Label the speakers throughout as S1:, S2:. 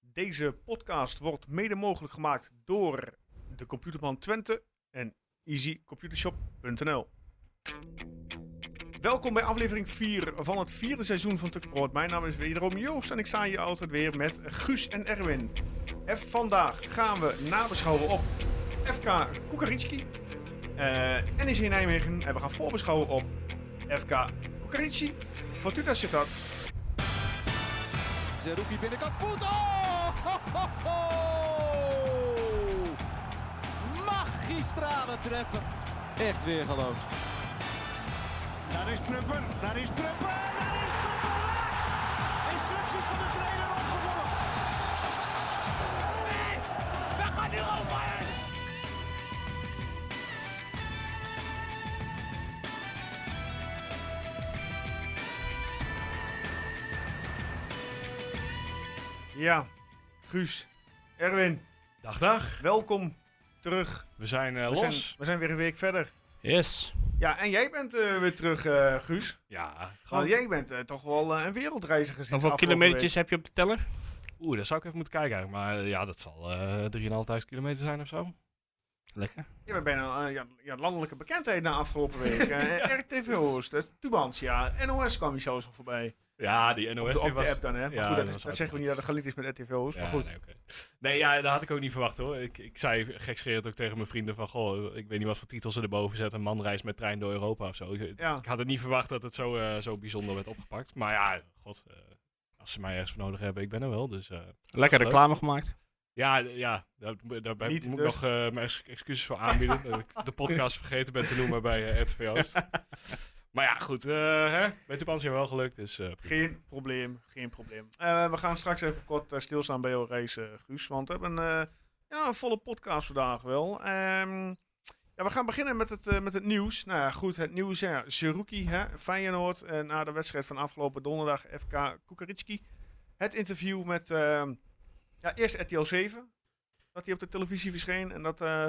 S1: Deze podcast wordt mede mogelijk gemaakt door de Computerman Twente en easycomputershop.nl. Welkom bij aflevering 4 van het vierde seizoen van Tukkenbrood. Mijn naam is wederom Joost en ik sta hier altijd weer met Guus en Erwin. En vandaag gaan we nabeschouwen op FK Kukaritski, eh NEC Nijmegen. En we gaan voorbeschouwen op FK Kukaritski, Fortuna Sittard.
S2: Zerouki binnenkant voet. Oh! Ho, ho, ho! Magistrale treppen. Echt weer geloof.
S3: Daar is Prupper, daar is Prupper, daar is Prupper! Instructies van de trainer opgevolgd. We gaan nu over!
S1: Ja, Guus, Erwin,
S4: Dag, dag.
S1: welkom terug.
S4: We zijn eh,
S1: We zijn,
S4: los.
S1: we zijn weer een week verder.
S4: Yes.
S1: Ja, en jij bent eh, weer terug, eh, Guus.
S4: Ja,
S1: Want
S4: gewoon.
S1: jij bent eh, toch wel eh, een wereldreiziger sinds
S5: Hoeveel
S1: afgelopen
S5: kilometertjes Dus heb je op de teller?
S4: Oeh, dat zou ik even moeten kijken. eigenlijk. Maar eh, ja, dat zal eh 3.500 kilometer zijn of zo.
S5: Lekker.
S1: week. Ja, we zijn een eh, ja, ja, landelijke bekendheid na afgelopen week. Eh, RTV-host, uh, Tubantia, NOS kwam hier zelfs nog voorbij.
S4: Ja, die
S1: Op
S4: NOS
S1: de,
S4: die
S1: op de app dan, hè. Maar
S4: ja,
S1: goed, dat,
S4: dat
S1: is-
S4: was
S1: dat zeggen we niet dat het gelinkt is met RTV-host,
S4: Ja,
S1: maar goed.
S4: Nee, oké. nee, ja, dat had ik ook niet verwacht hoor. Ik, ik zei gekscherend ook tegen mijn vrienden van... Goh, ik weet niet wat voor titel ze erboven zetten. Man reist met trein door Europa of zo. Ik,
S1: Ja.
S4: ik had het niet verwacht dat het zo, eh, zo bijzonder werd opgepakt. Maar ja, god. eh, als ze mij ergens voor nodig hebben, ik ben er wel. Dus eh,
S5: Lekker
S4: Leuk.
S5: reclame gemaakt.
S4: Ja, d- ja daar, daar ben-
S1: Niet
S4: moet
S1: dus.
S4: ik nog eh, mijn ex- excuses voor aanbieden. dat ik de podcast vergeten ben te noemen bij eh, RTV Oost. maar ja, goed. eh hè? Met de Panzer wel gelukt. Dus, eh, prima.
S1: Geen probleem, geen probleem. Eh, we gaan straks even kort eh, stilstaan bij jouw reis, eh, Guus. Want we hebben eh, ja, een volle podcast vandaag wel. Ehm, ja, we gaan beginnen met het, eh, met het nieuws. Nou ja, goed, het nieuws. Ja, Zerouki, hè, Feyenoord, eh, na de wedstrijd van afgelopen donderdag, FK Kukaritski. Het interview met ehm, ja, eerst RTL 7, dat hij op de televisie verscheen. En dat eh,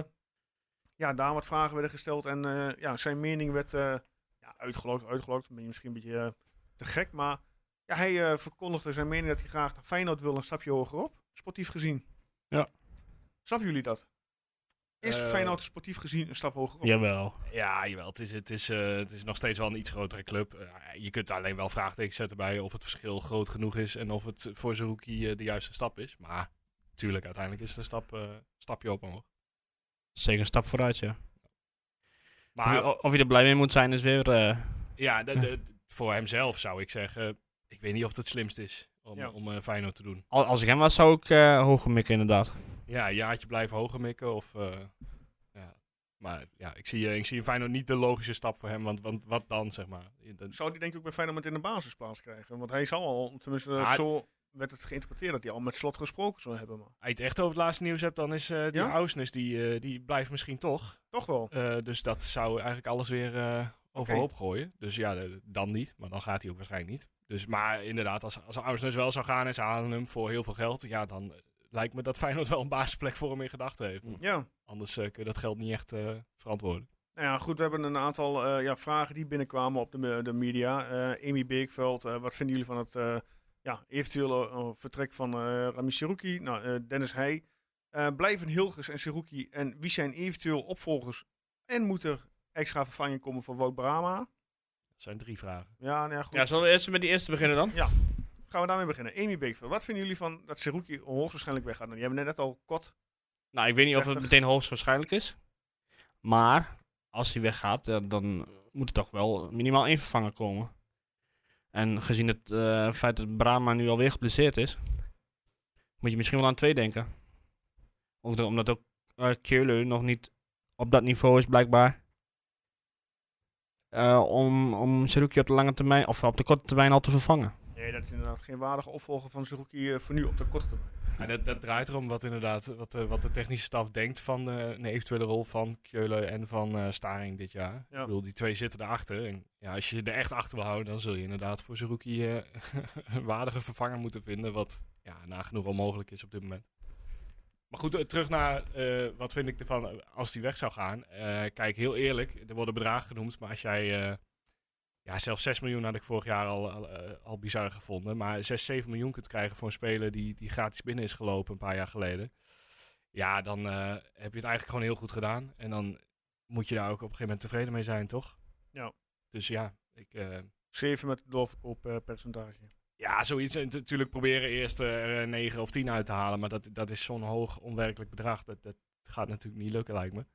S1: ja, daar wat vragen werden gesteld. En eh, ja, zijn mening werd eh ja, uitgelokt, uitgelokt. Ben je misschien een beetje eh, te gek, maar... Ja, hij eh, verkondigde zijn mening dat hij graag naar Feyenoord wil een stapje hogerop, sportief gezien.
S5: Ja.
S1: Snappen jullie dat? Is
S4: Eh,
S1: Feyenoord sportief gezien een stap hogerop?
S5: Jawel.
S4: Ja, jawel. Het is, het, is, eh, het is nog steeds wel een iets grotere club. Eh, je kunt alleen wel vraagtekens zetten bij of het verschil groot genoeg is. En of het voor zijn rookie eh, de juiste stap is. Maar natuurlijk, uiteindelijk is het een stap, eh, stapje op omhoog.
S5: Zeker een stap vooruit, ja. Ah. Of
S4: Maar
S5: je, of je er blij mee moet zijn, is weer... eh,
S4: Ja, de- de- voor hemzelf zou ik zeggen, ik weet niet of dat het slimst is om,
S1: Ja.
S4: om eh, Feyenoord te doen.
S5: al- als ik hem was, zou ik eh hoger mikken, inderdaad.
S4: Ja, een jaartje blijven hoger mikken of... eh, ja. Maar ja, ik zie, eh, ik zie in Feyenoord niet de logische stap voor hem, want, want wat dan, zeg maar? Je- dan-
S1: Zou die denk ik ook bij Feyenoord in de basisplaats krijgen? Want hij zal al, tenminste eh,
S4: Ah,
S1: zo werd het geïnterpreteerd, dat hij al met slot gesproken zou hebben. Maar.
S4: Als je het echt over het laatste nieuws hebt, dan is eh, die
S1: Ja?
S4: Ausnes, die, eh, die blijft misschien toch.
S1: Toch wel.
S4: Eh, dus dat zou eigenlijk alles weer eh, overhoop gooien. Dus ja, de- dan niet. Maar dan gaat hij ook waarschijnlijk niet. Dus, maar inderdaad, als, als Ausnes wel zou gaan en ze halen hem voor heel veel geld... Ja, dan eh, lijkt me dat Feyenoord wel een basisplek voor hem in gedachten heeft.
S5: Hmm.
S1: Ja.
S4: Anders eh, kun je dat geld niet echt eh, verantwoorden.
S1: Nou ja, goed, we hebben een aantal eh, ja, vragen die binnenkwamen op de, me- de media. Eh, Amy Beekveld, eh, wat vinden jullie van het eh, ja, eventuele eh, vertrek van eh Rami Seruki? Nou, eh, Dennis Heij. Eh, blijven Hilgers en Seruki en wie zijn eventueel opvolgers? En moet er extra vervanging komen voor Wout Brama?
S4: Dat zijn drie vragen.
S1: Ja, nou ja, goed.
S5: zullen we eerst met die eerste beginnen dan?
S1: Gaan we daarmee beginnen. Amy Beekveld, wat vinden jullie van dat Seruki hoogstwaarschijnlijk weggaat? Nou, die hebben net al kort.
S5: Nou, ik weet niet of het
S1: Prachtig.
S5: meteen hoogstwaarschijnlijk is. Maar als hij weggaat, ja, dan moet er toch wel minimaal één vervanger komen. En gezien het eh, feit dat Brahma nu alweer geblesseerd is, moet je misschien wel aan twee denken. Ook dat- omdat ook eh Keulen nog niet op dat niveau is blijkbaar. Eh, om om Seruki op de lange termijn, of op de korte termijn al te vervangen.
S1: Nee, dat is inderdaad geen waardige opvolger van Seruki eh, voor nu op de korte termijn.
S4: En dat, dat draait erom wat inderdaad wat, eh, wat de technische staf denkt van eh, een eventuele rol van Keulen en van eh, Staring dit jaar.
S1: Ja.
S4: Ik bedoel, die twee zitten erachter. En ja, als je ze er echt achter wil houden, dan zul je inderdaad voor Zerouki eh, een waardige vervanger moeten vinden. Wat ja, nagenoeg onmogelijk is op dit moment. Maar goed, eh, terug naar eh, wat vind ik ervan eh, als die weg zou gaan. Eh, kijk, heel eerlijk, er worden bedragen genoemd. Maar als jij eh, Ja, zelfs 6 miljoen had ik vorig jaar al, al, eh, al bizar gevonden. Maar 6, 7 miljoen kunt krijgen voor een speler die, die gratis binnen is gelopen een paar jaar geleden. Ja, dan eh, heb je het eigenlijk gewoon heel goed gedaan. En dan moet je daar ook op een gegeven moment tevreden mee zijn, toch?
S1: Ja.
S4: Dus ja, ik... eh,
S1: 7 met het doorverkooppercentage.
S4: ja, zoiets. En natuurlijk proberen eerst er eh, 9 of 10 uit te halen. Maar dat, dat is zo'n hoog onwerkelijk bedrag. Dat, dat gaat natuurlijk niet lukken, lijkt me.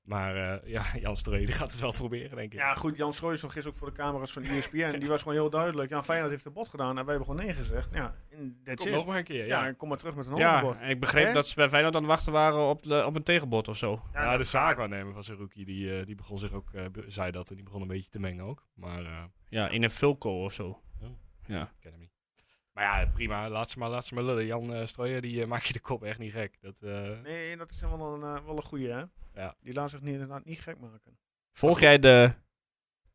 S4: Maar eh, ja, Jan Strooij die gaat het wel proberen, denk ik.
S1: Ja, goed, Jan Schooijs nog gisteren ook voor de camera's van E ESPN. Die was gewoon heel duidelijk. Ja, Feyenoord heeft een bot gedaan en wij hebben gewoon nee gezegd. Ja, en that's
S4: Kom
S1: it.
S4: nog maar een keer.
S1: Ja,
S4: ja.
S1: en kom maar terug met een ander
S5: Ja,
S1: bot.
S5: ik begreep
S1: Hè?
S5: dat ze bij Feyenoord aan het wachten waren op, de, op een tegenbod of zo.
S1: Ja,
S4: Ja,
S1: dat-
S4: de zaakwaarnemer van Zerouki, die, eh, die begon zich ook, eh, be- zei dat en die begon een beetje te mengen ook. Maar eh,
S5: Ja, in een Vulco of zo.
S4: Ja.
S5: Ja.
S4: ik ken hem niet. Maar ja, prima. Laat ze maar, laat ze maar lullen. Jan eh Strooijer, die eh, maakt je de kop echt niet gek. Dat, eh,
S1: Nee, dat is wel een, eh, wel een goeie, hè?
S4: Ja.
S1: Die laat zich niet, inderdaad niet gek maken.
S5: Volg jij de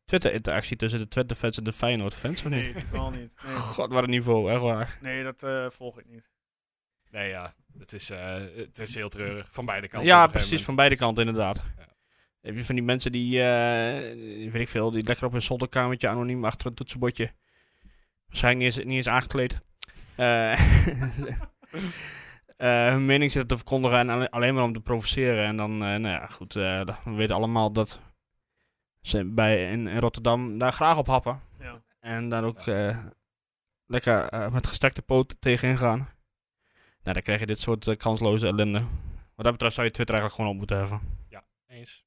S5: Twitter-interactie tussen de Twente-fans en de Feyenoord-fans of niet?
S1: Nee, totaal niet. Nee,
S5: God, wat een niveau, echt waar.
S1: nee dat eh, volg ik niet.
S4: Nee, ja. Het is, eh, het is heel treurig. Van beide kanten.
S5: ja,
S4: op een gegeven
S5: precies, van
S4: moment.
S5: beide kanten inderdaad.
S4: Ja.
S5: Heb je van die mensen die, eh, weet ik veel, die lekker op een zolderkamertje anoniem achter een toetsenbordje. Waarschijnlijk niet eens, niet eens aangekleed. eh, eh, hun mening zitten te verkondigen en alle- alleen maar om te provoceren. En dan, eh, nou ja, goed, eh, dat- we weten allemaal dat ze bij, in, in Rotterdam daar graag op happen.
S1: Ja.
S5: En daar ook eh, lekker eh, met gestrekte poot tegenin gaan. Nou, dan krijg je dit soort eh, kansloze ellende. Wat dat betreft zou je Twitter eigenlijk gewoon op moeten heffen.
S4: Eens.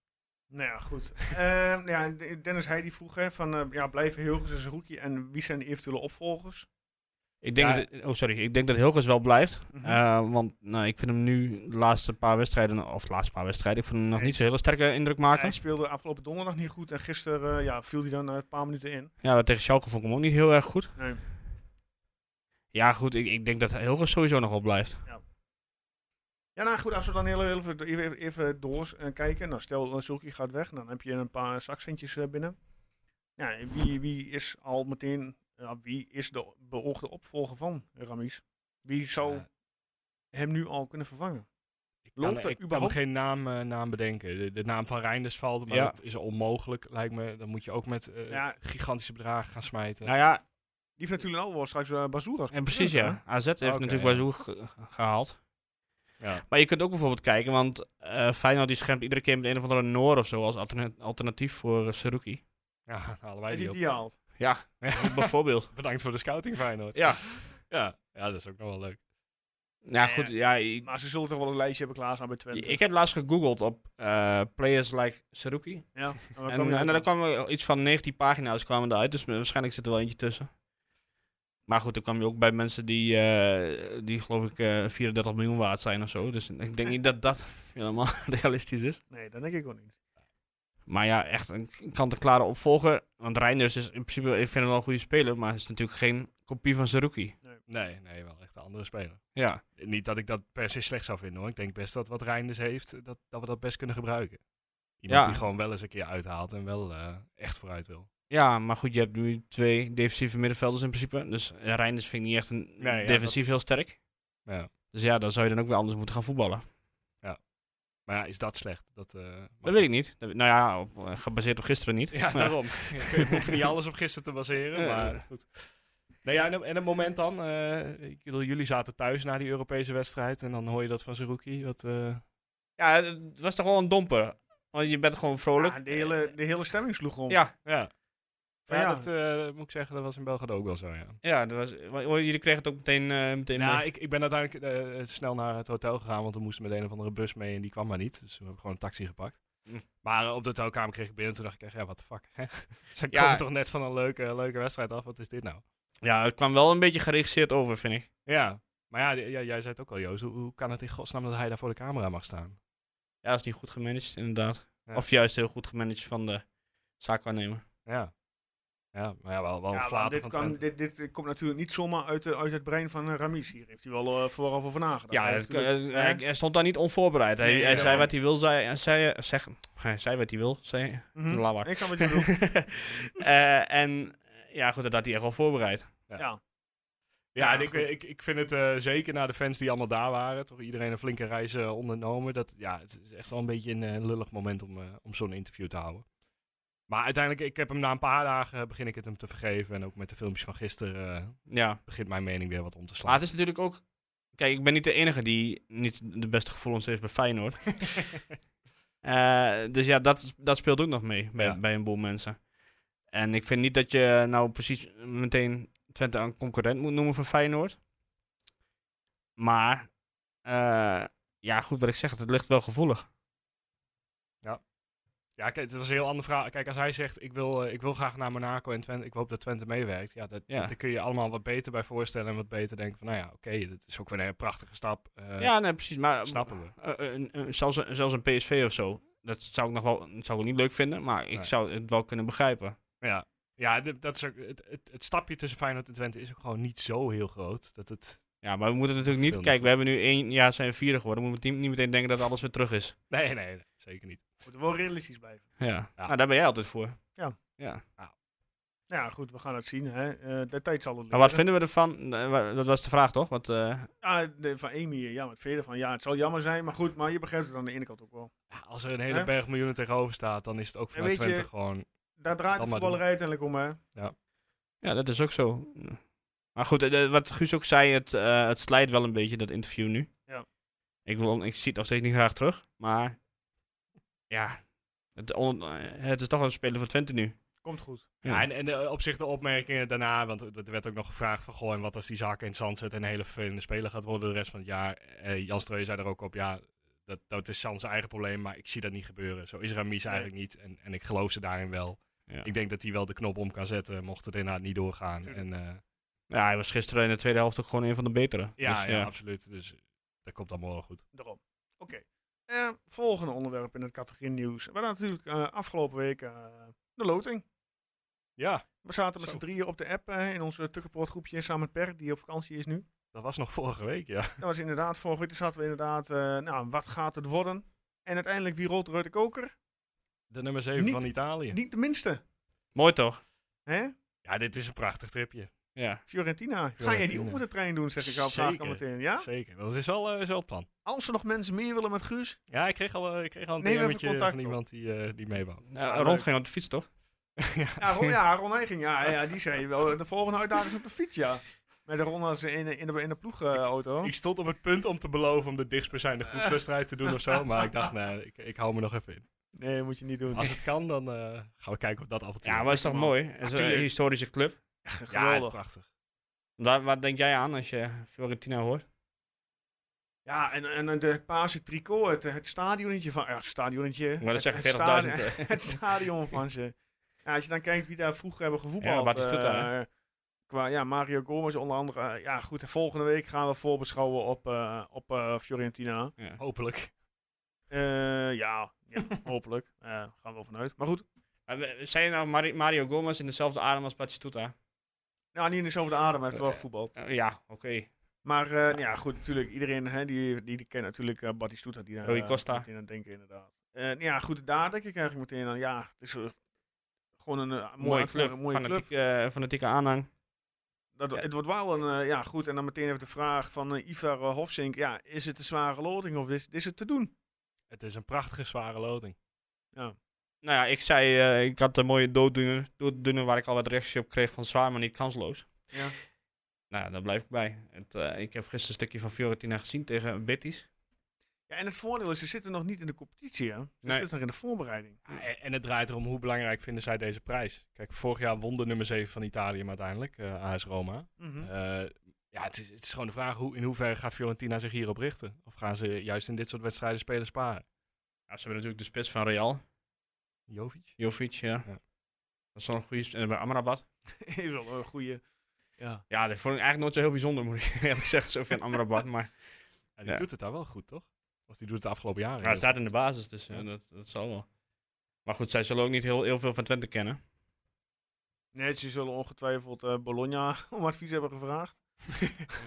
S1: Nou ja, goed. Ehm, ja, en D- Dennis Heij die vroeg, hè, van eh, ja, blijven Hilgers en rookie en wie zijn de eventuele opvolgers?
S5: Ik denk,
S4: Ja.
S5: dat, oh, sorry. ik denk dat Hilgers wel blijft.
S1: Mhm.
S5: Eh, want nou, ik vind hem nu de laatste paar wedstrijden, of de laatste paar wedstrijden, ik vind hem nog niet zo'n hele sterke indruk maken.
S1: Hij speelde afgelopen donderdag niet goed en gisteren eh, ja, viel hij dan eh, een paar minuten in.
S5: Ja, maar tegen Schalke vond ik hem ook niet heel erg goed.
S1: Nee.
S5: Ja, goed, ik, ik denk dat Hilgers sowieso nog wel blijft.
S1: Ja, nou goed, als we dan heel heel even, even, even door eh, kijken. Nou, stel, eh, Zulki gaat weg, dan heb je een paar zakcentjes eh, binnen. Ja, en wie, wie is al meteen, ja, wie is de beoogde opvolger van Ramis? Wie zou
S4: Eh,
S1: hem nu al kunnen vervangen?
S4: ik kan,
S1: Loopt er
S4: ik kan
S1: überhaupt-
S4: geen naam, eh, naam bedenken. De, de naam van Reinders valt, maar
S5: Ja.
S4: dat is onmogelijk, lijkt me. Dan moet je ook met eh,
S1: Ja.
S4: gigantische bedragen gaan smijten.
S5: Nou ja,
S1: Die heeft natuurlijk al wel straks eh Bazoer als
S5: en precies ja. AZ heeft
S4: Oké,
S5: natuurlijk
S4: ja.
S5: bij Zoeg gehaald.
S4: Ja.
S5: Maar je kunt ook bijvoorbeeld kijken, want eh Feyenoord die schermt iedere keer met een of andere Noor of zo als alterna- alternatief voor eh, Saruki.
S4: ja, allebei
S1: hij
S4: die op.
S1: die haalt.
S5: bijvoorbeeld.
S4: Bedankt voor de scouting, Feyenoord.
S5: Ja.
S4: ja. Ja, dat is ook nog wel leuk.
S5: Nou goed, ja, ik,
S1: Maar ze zullen toch wel een lijstje hebben klaarstaan bij Twente.
S5: ik heb laatst gegoogeld op eh, players like Saruki.
S1: ja, en waar
S5: En, eh,
S1: kwam
S5: nou,
S1: je
S5: en
S1: uit?
S5: daar kwamen iets van 19 pagina's kwamen eruit, dus waarschijnlijk zit er wel eentje tussen. Maar goed, dan kwam je ook bij mensen die, eh, die geloof ik eh, 34 miljoen waard zijn of zo. Dus ik denk niet dat dat helemaal realistisch is.
S1: Nee, dat denk ik ook niet.
S5: Maar ja, echt een kant-en-klare opvolger. Want Reinders is in principe, ik vind hem wel een goede speler, maar is natuurlijk geen kopie van Saruki.
S4: Nee, nee, wel echt een andere speler.
S5: Ja.
S4: Niet dat ik dat per se slecht zou vinden hoor. Ik denk best dat wat Reinders heeft, dat, dat we dat best kunnen gebruiken. Iemand
S5: Ja.
S4: die gewoon wel eens een keer uithaalt en wel eh, echt vooruit wil.
S5: ja, maar goed, je hebt nu twee defensieve middenvelders in principe. Dus eh, Reinders vind ik niet echt een
S4: Nee, ja,
S5: defensief heel sterk.
S4: Ja.
S5: Dus ja, dan zou je dan ook weer anders moeten gaan voetballen.
S4: Maar ja, is dat slecht? Dat, eh, mag
S5: Dat weet ik niet. Dat- nou ja, op, eh, gebaseerd op gisteren niet.
S4: Ja, daarom. ik eh, hoef niet alles op gisteren te baseren,
S5: Eh.
S4: maar goed. Nou ja, en op- en een moment dan. eh, ik bedoel, jullie zaten thuis na die Europese wedstrijd en dan hoor je dat van Zerouki. Wat, eh,
S5: Ja, het was toch wel een domper. Want je bent gewoon vrolijk.
S1: Ja, de, hele, de hele stemming sloeg om.
S5: Ja,
S4: ja.
S1: Van
S4: Ja,
S1: ja.
S4: dat eh, moet ik zeggen, dat was in België ook wel zo, ja.
S5: ja dat was, want jullie kregen het ook meteen, eh, meteen
S4: Nou,
S5: mee.
S4: ik, ik ben uiteindelijk eh, snel naar het hotel gegaan, want we moesten met een of andere bus mee en die kwam maar niet. Dus toen heb ik gewoon een taxi gepakt.
S5: Hm.
S4: Maar eh, op de hotelkamer kreeg ik binnen en toen dacht ik echt, ja, wat de fuck. hè? Ze
S5: Ja.
S4: komen toch net van een leuke, leuke wedstrijd af, wat is dit nou?
S5: Ja, het kwam wel een beetje geregisseerd over, vind ik.
S4: Ja, maar ja, d- ja, jij zei het ook al, Joost. Hoe, hoe kan het in godsnaam dat hij daar voor de camera mag staan?
S5: Ja, dat is niet goed gemanaged, inderdaad.
S4: Ja.
S5: Of juist heel goed gemanaged van de zaakwaarnemer.
S4: Ja, ja maar ja, wel,
S1: Ja,
S4: wel een
S1: want
S4: Oh, flater
S1: dit,
S4: van
S1: kan,
S4: Twente.
S1: dit, dit eh, komt natuurlijk niet zomaar uit, de- uit het brein van eh, Ramis. Hier heeft hij wel eh, vooraf over nagedacht.
S5: Ja, eh,
S1: Hij
S5: het-
S1: heeft natuurlijk-
S5: het- hij, hij stond daar niet onvoorbereid. Hij,
S1: Nee,
S5: hij
S1: ja.
S5: zei wat hij wil, zei, hij zei, zeg, hij zei wat hij wil, zei,
S1: Mhm.
S5: laat maar.
S1: Ik kan wat je bedoelt.
S5: Eh, en ja, goed, dat had hij echt wel voorbereid.
S1: Ja.
S4: Ja,
S1: Ja,
S4: ik,
S1: goed.
S4: ik, ik vind het eh, zeker naar de fans die allemaal daar waren. Toch iedereen een flinke reis eh, ondernomen. Dat, ja, het is echt wel een beetje een eh, lullig moment om, eh, om zo'n interview te houden. Maar uiteindelijk, ik heb hem na een paar dagen eh, begin ik het hem te vergeven. En ook met de filmpjes van gisteren eh,
S5: Ja.
S4: begint mijn mening weer wat om te
S5: Maar
S4: slaan.
S5: het is natuurlijk ook... Kijk, ik ben niet de enige die niet de beste gevoelens heeft bij Feyenoord. Eh, dus ja, dat, dat speelt ook nog mee bij,
S4: Ja.
S5: bij een boel mensen. En ik vind niet dat je nou precies meteen Twente een concurrent moet noemen van Feyenoord. Maar, eh, ja goed wat ik zeg, het ligt wel gevoelig.
S4: Ja, kijk, dat is een heel andere vraag. Kijk, als hij zegt, ik wil, eh, ik wil graag naar Monaco en Twente, ik hoop dat Twente meewerkt. Ja, dat,
S5: Ja.
S4: daar kun je allemaal wat beter bij voorstellen en wat beter denken van, nou ja, oké, dat is ook weer een prachtige stap. eh,
S5: ja, nee, precies. Maar
S4: Snappen we.
S5: Eh, eh, een- een- zelfs, een- zelfs een PSV of zo. Dat zou ik nog wel dat zou ik niet leuk vinden, maar ik
S4: Nee.
S5: zou het wel kunnen begrijpen.
S4: Ja, ja d- dat is ook, het, het, het stapje tussen Feyenoord en Twente is ook gewoon niet zo heel groot. Dat het,
S5: Ja, maar we moeten natuurlijk niet.
S4: Veel
S5: Kijk,
S4: niet.
S5: we hebben nu één jaar zijn we vierde geworden. We moeten niet, niet meteen denken dat alles weer terug is.
S4: nee, nee, nee, zeker niet.
S1: Moeten wel realistisch blijven.
S5: Ja. Nou, daar ben jij altijd voor.
S1: Ja.
S5: ja.
S1: Nou ja, goed, we gaan het zien. Hè. Eh, de tijd zal het leren.
S5: Maar wat vinden we ervan? Eh, wa- Dat was de vraag toch? Want, eh,
S1: Ja, de, van Amy, eh, ja, wat vind je ervan? Ja, het zal jammer zijn, maar goed, maar je begrijpt het aan de ene kant ook wel.
S4: Ja, Als er een hele
S1: Hè?
S4: berg miljoenen tegenover staat, dan is het ook vanuit
S1: weet je-
S4: Twente gewoon...
S1: Daar draait de
S4: Dan maar
S1: voetballerij uiteindelijk om, hè.
S5: ja, dat is ook zo. Maar goed, eh, eh, wat Guus ook zei, het, eh, het slijt wel een beetje dat interview nu.
S1: Ja.
S5: Ik, wil, ik zie het nog steeds niet graag terug, maar ja, het, on- eh, het is toch wel een speler van Twente nu.
S1: Komt goed.
S4: Ja. en, en eh, op zich de opmerkingen daarna, want er werd ook nog gevraagd van... Goh, en wat als die zaken in het zand zet en een hele vervelende speler gaat worden de rest van het jaar? Eh, Jan Streu zei er ook op, ja, dat, dat is San zijn eigen probleem, maar ik zie dat niet gebeuren. Zo is Ramis
S1: Nee.
S4: eigenlijk niet en, en ik geloof ze daarin wel.
S5: Ja.
S4: Ik denk dat hij wel de knop om kan zetten, mocht het inderdaad niet doorgaan. En,
S1: Tuurlijk.
S4: eh,
S5: Ja, hij was gisteren in de tweede helft ook gewoon een van de betere.
S4: ja,
S5: Dus,
S4: ja, absoluut. Dus dat komt dan morgen goed.
S1: Daarom. Oké. Eh, volgende onderwerp in het categorie nieuws. We hadden natuurlijk eh, afgelopen week eh, de loting.
S4: Ja,
S1: We zaten met
S4: Zo.
S1: z'n drieën op de app eh, in onze Tukkenpoort groepje samen met Per, die op vakantie is nu.
S4: dat was nog vorige week, ja.
S1: Dat was inderdaad, vorige week zaten we inderdaad, eh, nou, wat gaat het worden? En uiteindelijk, wie rolt er uit de koker?
S4: De nummer 7
S1: Niet-
S4: van Italië.
S1: Niet de minste.
S5: Mooi toch?
S1: Hè?
S4: Ja, dit is een prachtig tripje.
S5: Ja.
S1: Fiorentina. Ga jij die
S4: Fiorentina.
S1: onder de trein doen, zeg ik al. Vraag ik al
S4: Zeker.
S1: meteen. Ja?
S4: Zeker. Dat is wel, eh, is wel het plan.
S1: Als er nog mensen meer willen met Guus.
S4: Ja, ik kreeg al, eh, ik kreeg al een
S1: Neem even
S4: DM'tje
S1: contact
S4: van
S1: op.
S4: iemand die, eh, die mee wou.
S5: Nou, Ron ging op de fiets toch?
S1: Ja, Ron, ja, Ron Heijging, Ja, ja, die zei wel. eh, De volgende uitdaging is op de fiets, ja. Met de Ron als in, in de, in de ploegauto.
S4: Ik stond op het punt om te beloven om de dichtstbijzijnde groepswedstrijd te doen of zo. Maar ik dacht, nee, ik, ik hou me nog even in.
S1: nee, moet je niet doen.
S4: Als het kan, dan eh, gaan we kijken of dat avontuur...
S5: Ja, maar is toch mooi? Het is een
S4: tuurlijk.
S5: historische club.
S4: Ja,
S1: Geweldig.
S4: prachtig.
S5: Waar, waar denk jij aan als je Fiorentina hoort?
S1: Ja, en, en en de Paarse tricot, het, het stadionnetje van... Ja, het stadionnetje.
S5: Maar dat
S1: Het-
S5: zeggen
S1: het stadion-
S5: 40.000. eh.
S1: Het stadion van ze. Ja, als je dan kijkt wie daar vroeger hebben gevoetbald.
S5: Ja, Batistuta,
S1: eh, qua, ja, Mario Gomez onder andere. Eh, ja, goed. en Volgende week gaan we voorbeschouwen op, eh, op eh, Fiorentina.
S5: Ja.
S4: Hopelijk.
S1: Eh, ja, ja, hopelijk. Eh, gaan we wel vanuit. Maar goed,
S5: Maar we- Zijn je nou Mari- Mario Gomez in dezelfde adem als Batistuta?
S1: nou, niet eens over de adem, hij heeft wel gevoetbald.
S5: Eh, ja, oké.
S1: Maar eh, nou ja, goed, natuurlijk, iedereen hè, die, die, die kent natuurlijk eh Batistuta. Die, daar,
S5: Rui
S1: eh,
S5: Costa.
S1: meteen aan denken, inderdaad. Eh, nou ja, goed, daar denk ik eigenlijk meteen aan. Ja, het is eh, gewoon een eh, mooie,
S5: Mooie club.
S1: een mooie club.
S5: Fanatiek, eh, fanatieke aanhang.
S1: Dat,
S5: Ja.
S1: Het wordt wel een, eh, ja goed, en dan meteen even de vraag van eh, Ivar eh, Hofsink. Ja, is het een zware loting of is, is het te doen?
S4: Het is een prachtige, zware loting.
S5: Nou ja, ik zei, eh, ik had een mooie dooddoener, dooddoener waar ik al wat reacties op kreeg van zwaar, maar niet kansloos.
S1: Ja.
S5: Nou, ja, daar blijf ik bij. Het, eh, ik heb gisteren een stukje van Fiorentina gezien tegen Betis.
S1: Ja, en het voordeel is, ze zitten nog niet in de competitie, hè? Ze
S5: Nee. Ah,
S1: zitten nog in de voorbereiding.
S4: Ja, En, en het draait erom hoe belangrijk vinden zij deze prijs. Kijk, vorig jaar won de nummer 7 van Italië maar uiteindelijk, eh, AS Roma.
S1: Mhm.
S4: Eh, ja, het is, het is gewoon de vraag hoe, in hoeverre gaat Fiorentina zich hierop richten? Of gaan ze juist in dit soort wedstrijden spelen sparen?
S5: Ja, ze hebben natuurlijk de spits van Real,
S4: Jovic?
S5: Jovic, ja.
S4: Ja.
S5: Dat is wel een goede spits. En bij Amrabat.
S1: is wel een goede. Ja.
S5: Ja, dat vond ik eigenlijk nooit zo heel bijzonder, moet ik eerlijk zeggen, zo van Amrabat. Maar
S4: Ja, die
S5: Ja.
S4: doet het daar wel goed, toch? Of die doet het de afgelopen jaren.
S5: ja, hij
S4: heel
S5: staat in de basis, dus ja,
S4: Ja.
S5: dat, dat zal wel. Maar goed, zij zullen ook niet heel, heel veel van Twente kennen.
S1: Nee, ze zullen ongetwijfeld eh, Bologna om advies hebben gevraagd.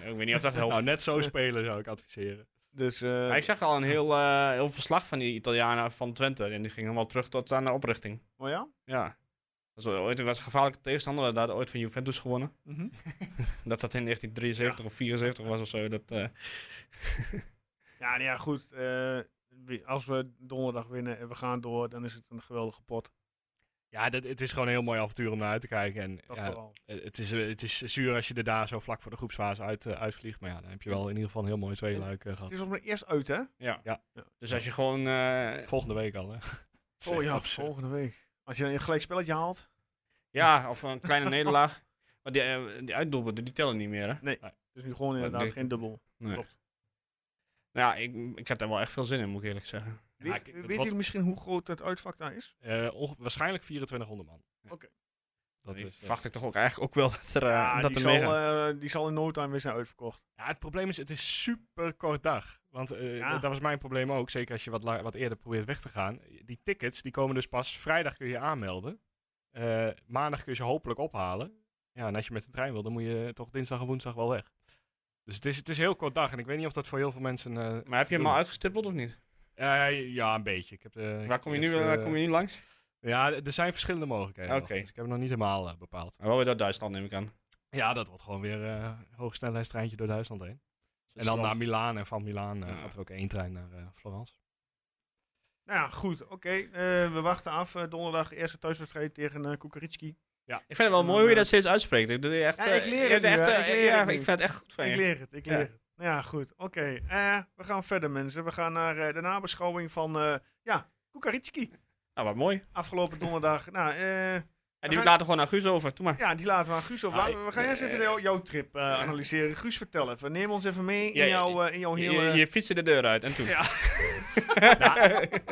S5: ik weet niet of dat
S4: goed.
S5: helpt.
S4: Nou, net zo spelen zou ik adviseren.
S1: Dus, eh,
S5: Maar ik zag al een heel, eh, heel verslag van die Italianen van Twente. En die ging helemaal terug tot aan de oprichting.
S1: Oh ja?
S5: Ja. Dat was ooit een wat gevaarlijke tegenstander. Dat hadden ooit van Juventus gewonnen.
S1: Mhm.
S5: Dat dat in 1973 of 74 was of zo. Dat, eh,
S1: Ja, nou ja, goed. eh, wie- als we donderdag winnen en we gaan door, dan is het een geweldige pot.
S4: Ja, dat, het is gewoon een heel mooi avontuur om naar uit te kijken. En,
S1: Dat
S4: ja,
S1: vooral.
S4: eh, het, is, eh, het is zuur als je er daar zo vlak voor de groepsfase uit, eh, uitvliegt. Maar ja, dan heb je wel in ieder geval een heel mooi tweeluik eh,
S1: Het
S4: gehad.
S1: is op mijn eerst uit, hè?
S5: Ja.
S4: Ja.
S5: Dus als je gewoon... eh,
S4: Volgende week al, hè? Het is
S1: Oh
S4: echt
S1: ja,
S4: absurd.
S1: volgende week. Als je dan een gelijk spelletje haalt.
S5: ja, of een kleine nederlaag. Maar die, eh, die uitdoelpunten, die tellen niet meer, hè? Nou
S1: Het is nu gewoon
S5: denk
S1: inderdaad
S5: ik.
S1: geen dubbel.
S5: Nee.
S1: Klopt.
S5: Nou, ik, ik had daar wel echt veel zin in, moet ik eerlijk zeggen.
S4: Ja,
S1: Weet,
S4: ik-
S1: weet
S4: wat-
S1: je misschien hoe groot het uitvak daar is?
S4: eh, onge- waarschijnlijk 2400 man.
S1: Oké.
S4: Dat
S5: Die
S4: is, eh,
S5: verwacht ik toch ook eigenlijk ook wel dat er, eh, dat
S1: die,
S5: er
S1: zal,
S5: meer gaat.
S1: eh, die zal in no time weer zijn uitverkocht.
S4: Ja, het probleem is, het is super kort dag. Want eh,
S1: Ja.
S4: dat- dat was mijn probleem ook. Zeker als je wat, la- wat eerder probeert weg te gaan. Die tickets, die komen dus pas vrijdag kun je je aanmelden. Eh, maandag kun je ze hopelijk ophalen. Ja, en als je met de trein wil, dan moet je toch dinsdag en woensdag wel weg. Dus het is, het is heel kort dag. En ik weet niet of dat voor heel veel mensen... eh,
S5: Maar heb
S4: te
S5: je hem al
S4: doen
S5: uitgestippeld of niet?
S4: is. Eh, ja, een beetje. Ik heb, eh, ik
S5: Waar
S4: heb
S5: kom je nu,
S4: eerst,
S5: waar
S4: eh,
S5: kom je nu langs?
S4: Ja, d- er zijn verschillende mogelijkheden. nog.
S5: Oké.
S4: dus ik heb het nog niet helemaal eh, bepaald.
S5: Maar Oh, wel weer door Duitsland neem ik aan.
S4: Ja, dat wordt gewoon weer eh hoog snelheidstreintje door Duitsland heen. En dan
S5: Zwitserland.
S4: naar Milaan. En van Milaan eh,
S5: Ja.
S4: gaat er ook één trein naar eh, Florence.
S1: Nou ja, goed. Oké, eh, we wachten af. Eh, donderdag eerste thuiswedstrijd tegen eh Kukuritski.
S5: Ik vind het wel mooi hoe je dat steeds uitspreekt. Ik, doe je echt,
S1: Ja,
S5: eh,
S1: ik leer
S5: je
S1: het
S5: hebt
S1: nu,
S5: echt,
S1: hè.
S5: eh,
S1: Ik leer
S5: ja,
S1: het nu.
S5: ik vind het echt goed van
S1: Ik
S5: je.
S1: leer het, ik leer
S5: Ja.
S1: het. Nou ja, goed. Oké, eh, we gaan verder mensen. We gaan naar eh, de nabeschouwing van, eh, ja, Kukuritski.
S5: Nou, wat mooi.
S1: Afgelopen donderdag. nou, eh,
S5: En
S1: We
S5: die
S1: gaan-
S5: laten gewoon naar Guus over. Doe maar.
S1: ja, die laten we aan Guus over.
S5: Ah,
S1: Laten we- we gaan eerst even jou- jouw trip eh, analyseren. Guus, vertel even. Neem ons even mee
S5: Ja,
S1: in,
S5: ja,
S1: jouw, eh, in jouw
S5: Je,
S1: hele...
S5: je fietste de deur uit en toen.
S1: Ja.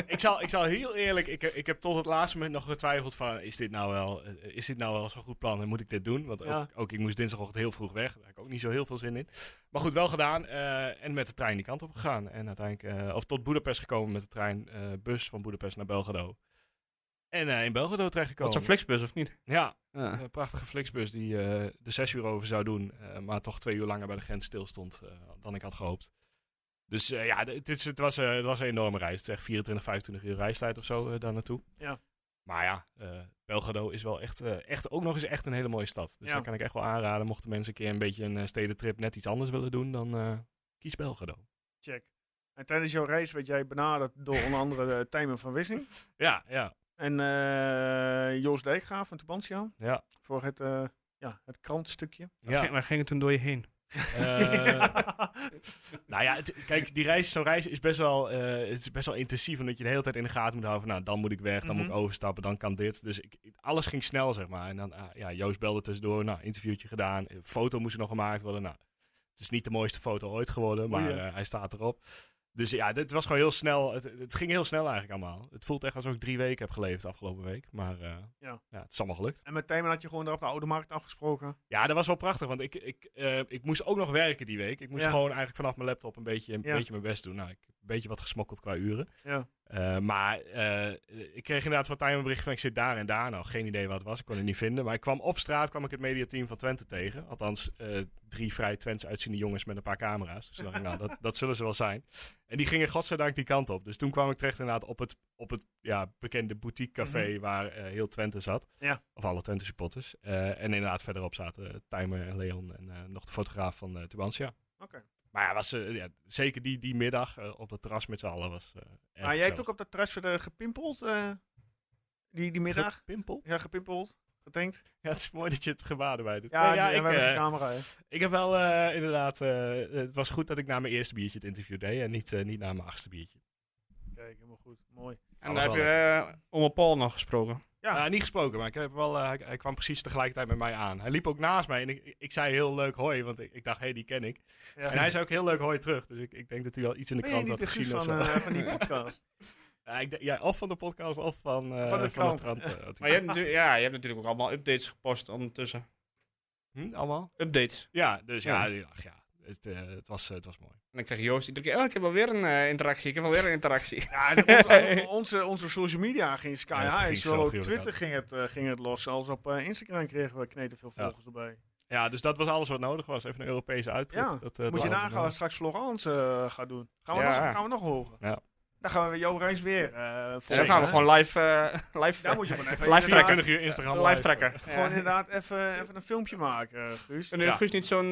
S4: ik, zal, ik zal heel eerlijk, ik, heb- ik heb tot het laatste moment nog getwijfeld van, is dit nou wel, eh, is dit nou wel zo'n goed plan en moet ik dit doen? Want ook,
S1: Ja.
S4: ook ik moest dinsdagochtend heel vroeg weg, daar had ik ook niet zo heel veel zin in. Maar goed, wel gedaan eh, en met de trein die kant op gegaan. En uiteindelijk, eh, of tot Boedapest gekomen met de trein, eh, bus van Boedapest naar Belgrado. En eh, in Belgrado
S5: Wat zo'n
S4: terechtgekomen.
S5: flexbus of niet?
S4: Ja,
S5: Ja.
S4: een eh, prachtige Flixbus die eh, de zes uur over zou doen, eh, maar toch twee uur langer bij de grens stilstond eh, dan ik had gehoopt. Dus eh, ja, d- het, is, het, was, eh, het was een enorme reis. Het is echt 24, 25 uur reistijd of zo eh, daar naartoe.
S1: Ja.
S4: Maar ja, eh, Belgrado is wel echt, eh, echt ook nog eens echt een hele mooie stad. Dus
S1: Ja.
S4: dat kan ik echt wel aanraden. Mochten mensen een keer een beetje een eh, stedentrip net iets anders willen doen, dan eh, kies Belgrado.
S1: Check. En tijdens jouw reis werd jij benaderd door onder andere eh, Tijmen van Wissing
S4: Ja, ja,
S1: en eh, Joost Dijkgraaf van Tubantia
S4: ja.
S1: voor het, eh, ja, het krantstukje.
S4: ja.
S5: Ging- Waar ging het toen door je heen?
S4: Eh, Nou ja, het- kijk, die reis, zo'n reis is best wel, eh, het is best wel intensief. Omdat je de hele tijd in de gaten moet houden van, nou, dan moet ik weg, dan moet
S1: Mhm.
S4: ik overstappen, dan kan dit. Dus ik, ik- alles ging snel, zeg maar. En dan, ah, ja, Joost belde tussendoor, nou, interviewtje gedaan. eh, Foto moest er nog gemaakt worden, nou. Het is niet de mooiste foto ooit geworden, maar
S1: Oei, ja.
S4: eh, hij staat erop. Dus ja, dit was gewoon heel snel. Het, het ging heel snel eigenlijk allemaal. Het voelt echt alsof ik drie weken heb geleefd afgelopen week. Maar eh,
S1: Ja.
S4: ja, het is allemaal gelukt.
S1: en met Tijmen had je gewoon daar op de Oude Markt afgesproken.
S4: Ja, dat was wel prachtig, want ik, ik, eh, ik moest ook nog werken die week. Ik moest
S1: Ja.
S4: gewoon eigenlijk vanaf mijn laptop een beetje, een
S1: Ja.
S4: beetje mijn best doen. Nou, ik heb een beetje wat gesmokkeld qua uren.
S1: Ja.
S4: Eh, maar eh, ik kreeg inderdaad van Time een bericht van ik zit daar en daar. Nou, geen idee wat het was, ik kon het niet vinden. Maar ik kwam op straat, kwam ik het mediateam van Twente tegen. Althans, eh, drie vrij Twents uitziende jongens met een paar camera's. Dus toen dacht ik, nou, dat, dat zullen ze wel zijn. En die gingen godzijdank die kant op. Dus toen kwam ik terecht inderdaad op het, op het ja, bekende boutique café waar eh, heel Twente zat.
S1: Mhm. Ja.
S4: Of alle Twente supporters. Eh, en inderdaad verderop zaten eh, Timer en Leon en eh, nog de fotograaf van eh Tubantia.
S1: Oké.
S4: Maar ja, was, eh, ja, zeker die, die middag eh, op dat terras met z'n allen was eh, erg
S1: Maar jij
S4: gezellig.
S1: hebt ook op dat terras verder gepimpeld eh, die, die middag.
S4: Gepimpeld?
S1: ja, gepimpeld. Getankt.
S4: Ja, het is mooi dat je het gebaar erbij doet.
S1: Ja,
S4: Nee, ja,
S1: en
S4: ik,
S1: wij hebben
S4: eh,
S1: de camera. hè.
S4: ik heb wel eh, inderdaad... eh, het was goed dat ik na mijn eerste biertje het interview deed en niet, eh, niet na mijn achtste biertje.
S1: Kijk, helemaal goed. Mooi.
S5: En
S4: was
S5: daar heb
S4: wel
S5: je eh, Ome Paul nog gesproken.
S1: Ja.
S4: Eh, niet gesproken, maar ik heb wel, eh, hij, hij kwam precies tegelijkertijd met mij aan. Hij liep ook naast mij en ik, ik zei heel leuk hoi, want ik, ik dacht, hé, hey, die ken ik.
S1: Ja.
S4: En hij zei ook heel leuk hoi terug, dus ik, ik denk dat hij wel iets in de
S1: Ben je
S4: krant
S1: niet
S4: had
S1: de Guus
S4: gezien of zo.
S1: van, eh, van die podcast?
S4: Ja, ik denk- ja, of van de podcast of van, eh,
S1: Van de
S4: van de
S1: krant.
S4: krant. eh, had
S5: Maar
S4: hij-
S5: je hebt, natuurlijk- ja, je hebt natuurlijk ook allemaal updates gepost ondertussen.
S4: Hm, allemaal?
S5: Updates.
S4: Ja, dus ja,
S5: Ja.
S4: ja. ach ja het, eh, het, was, eh, het was mooi.
S5: En dan krijg je Joost iedere keer, oh, ik heb alweer een eh, interactie, ik heb alweer een interactie.
S1: Ja, onze, onze, onze social media ging sky
S4: Ja, het
S1: high.
S4: ging zo
S1: Zowel op
S4: gruwelijk
S1: Twitter
S4: hard.
S1: ging het, eh, ging het los. Als op eh, Instagram kregen we kneten veel
S4: Ja.
S1: volgers erbij.
S4: Ja, dus dat was alles wat nodig was. Even een Europese uittrip.
S1: Ja,
S4: dat, eh,
S1: Moet je
S4: dat-
S1: nagaan wat straks Florence eh, gaat doen. Gaan we,
S5: Ja.
S1: nog, gaan we nog hoger?
S4: Ja.
S1: Dan gaan we Jo Reis weer eh
S5: En dan gaan we
S1: volgen.
S5: gewoon live, eh, live,
S1: Daar moet je gewoon even
S5: live trekken.
S4: 24 uur Instagram
S5: live, trekken.
S1: Gewoon inderdaad even, even een filmpje maken, eh, Guus.
S5: En nu, Guus, niet zo'n, eh,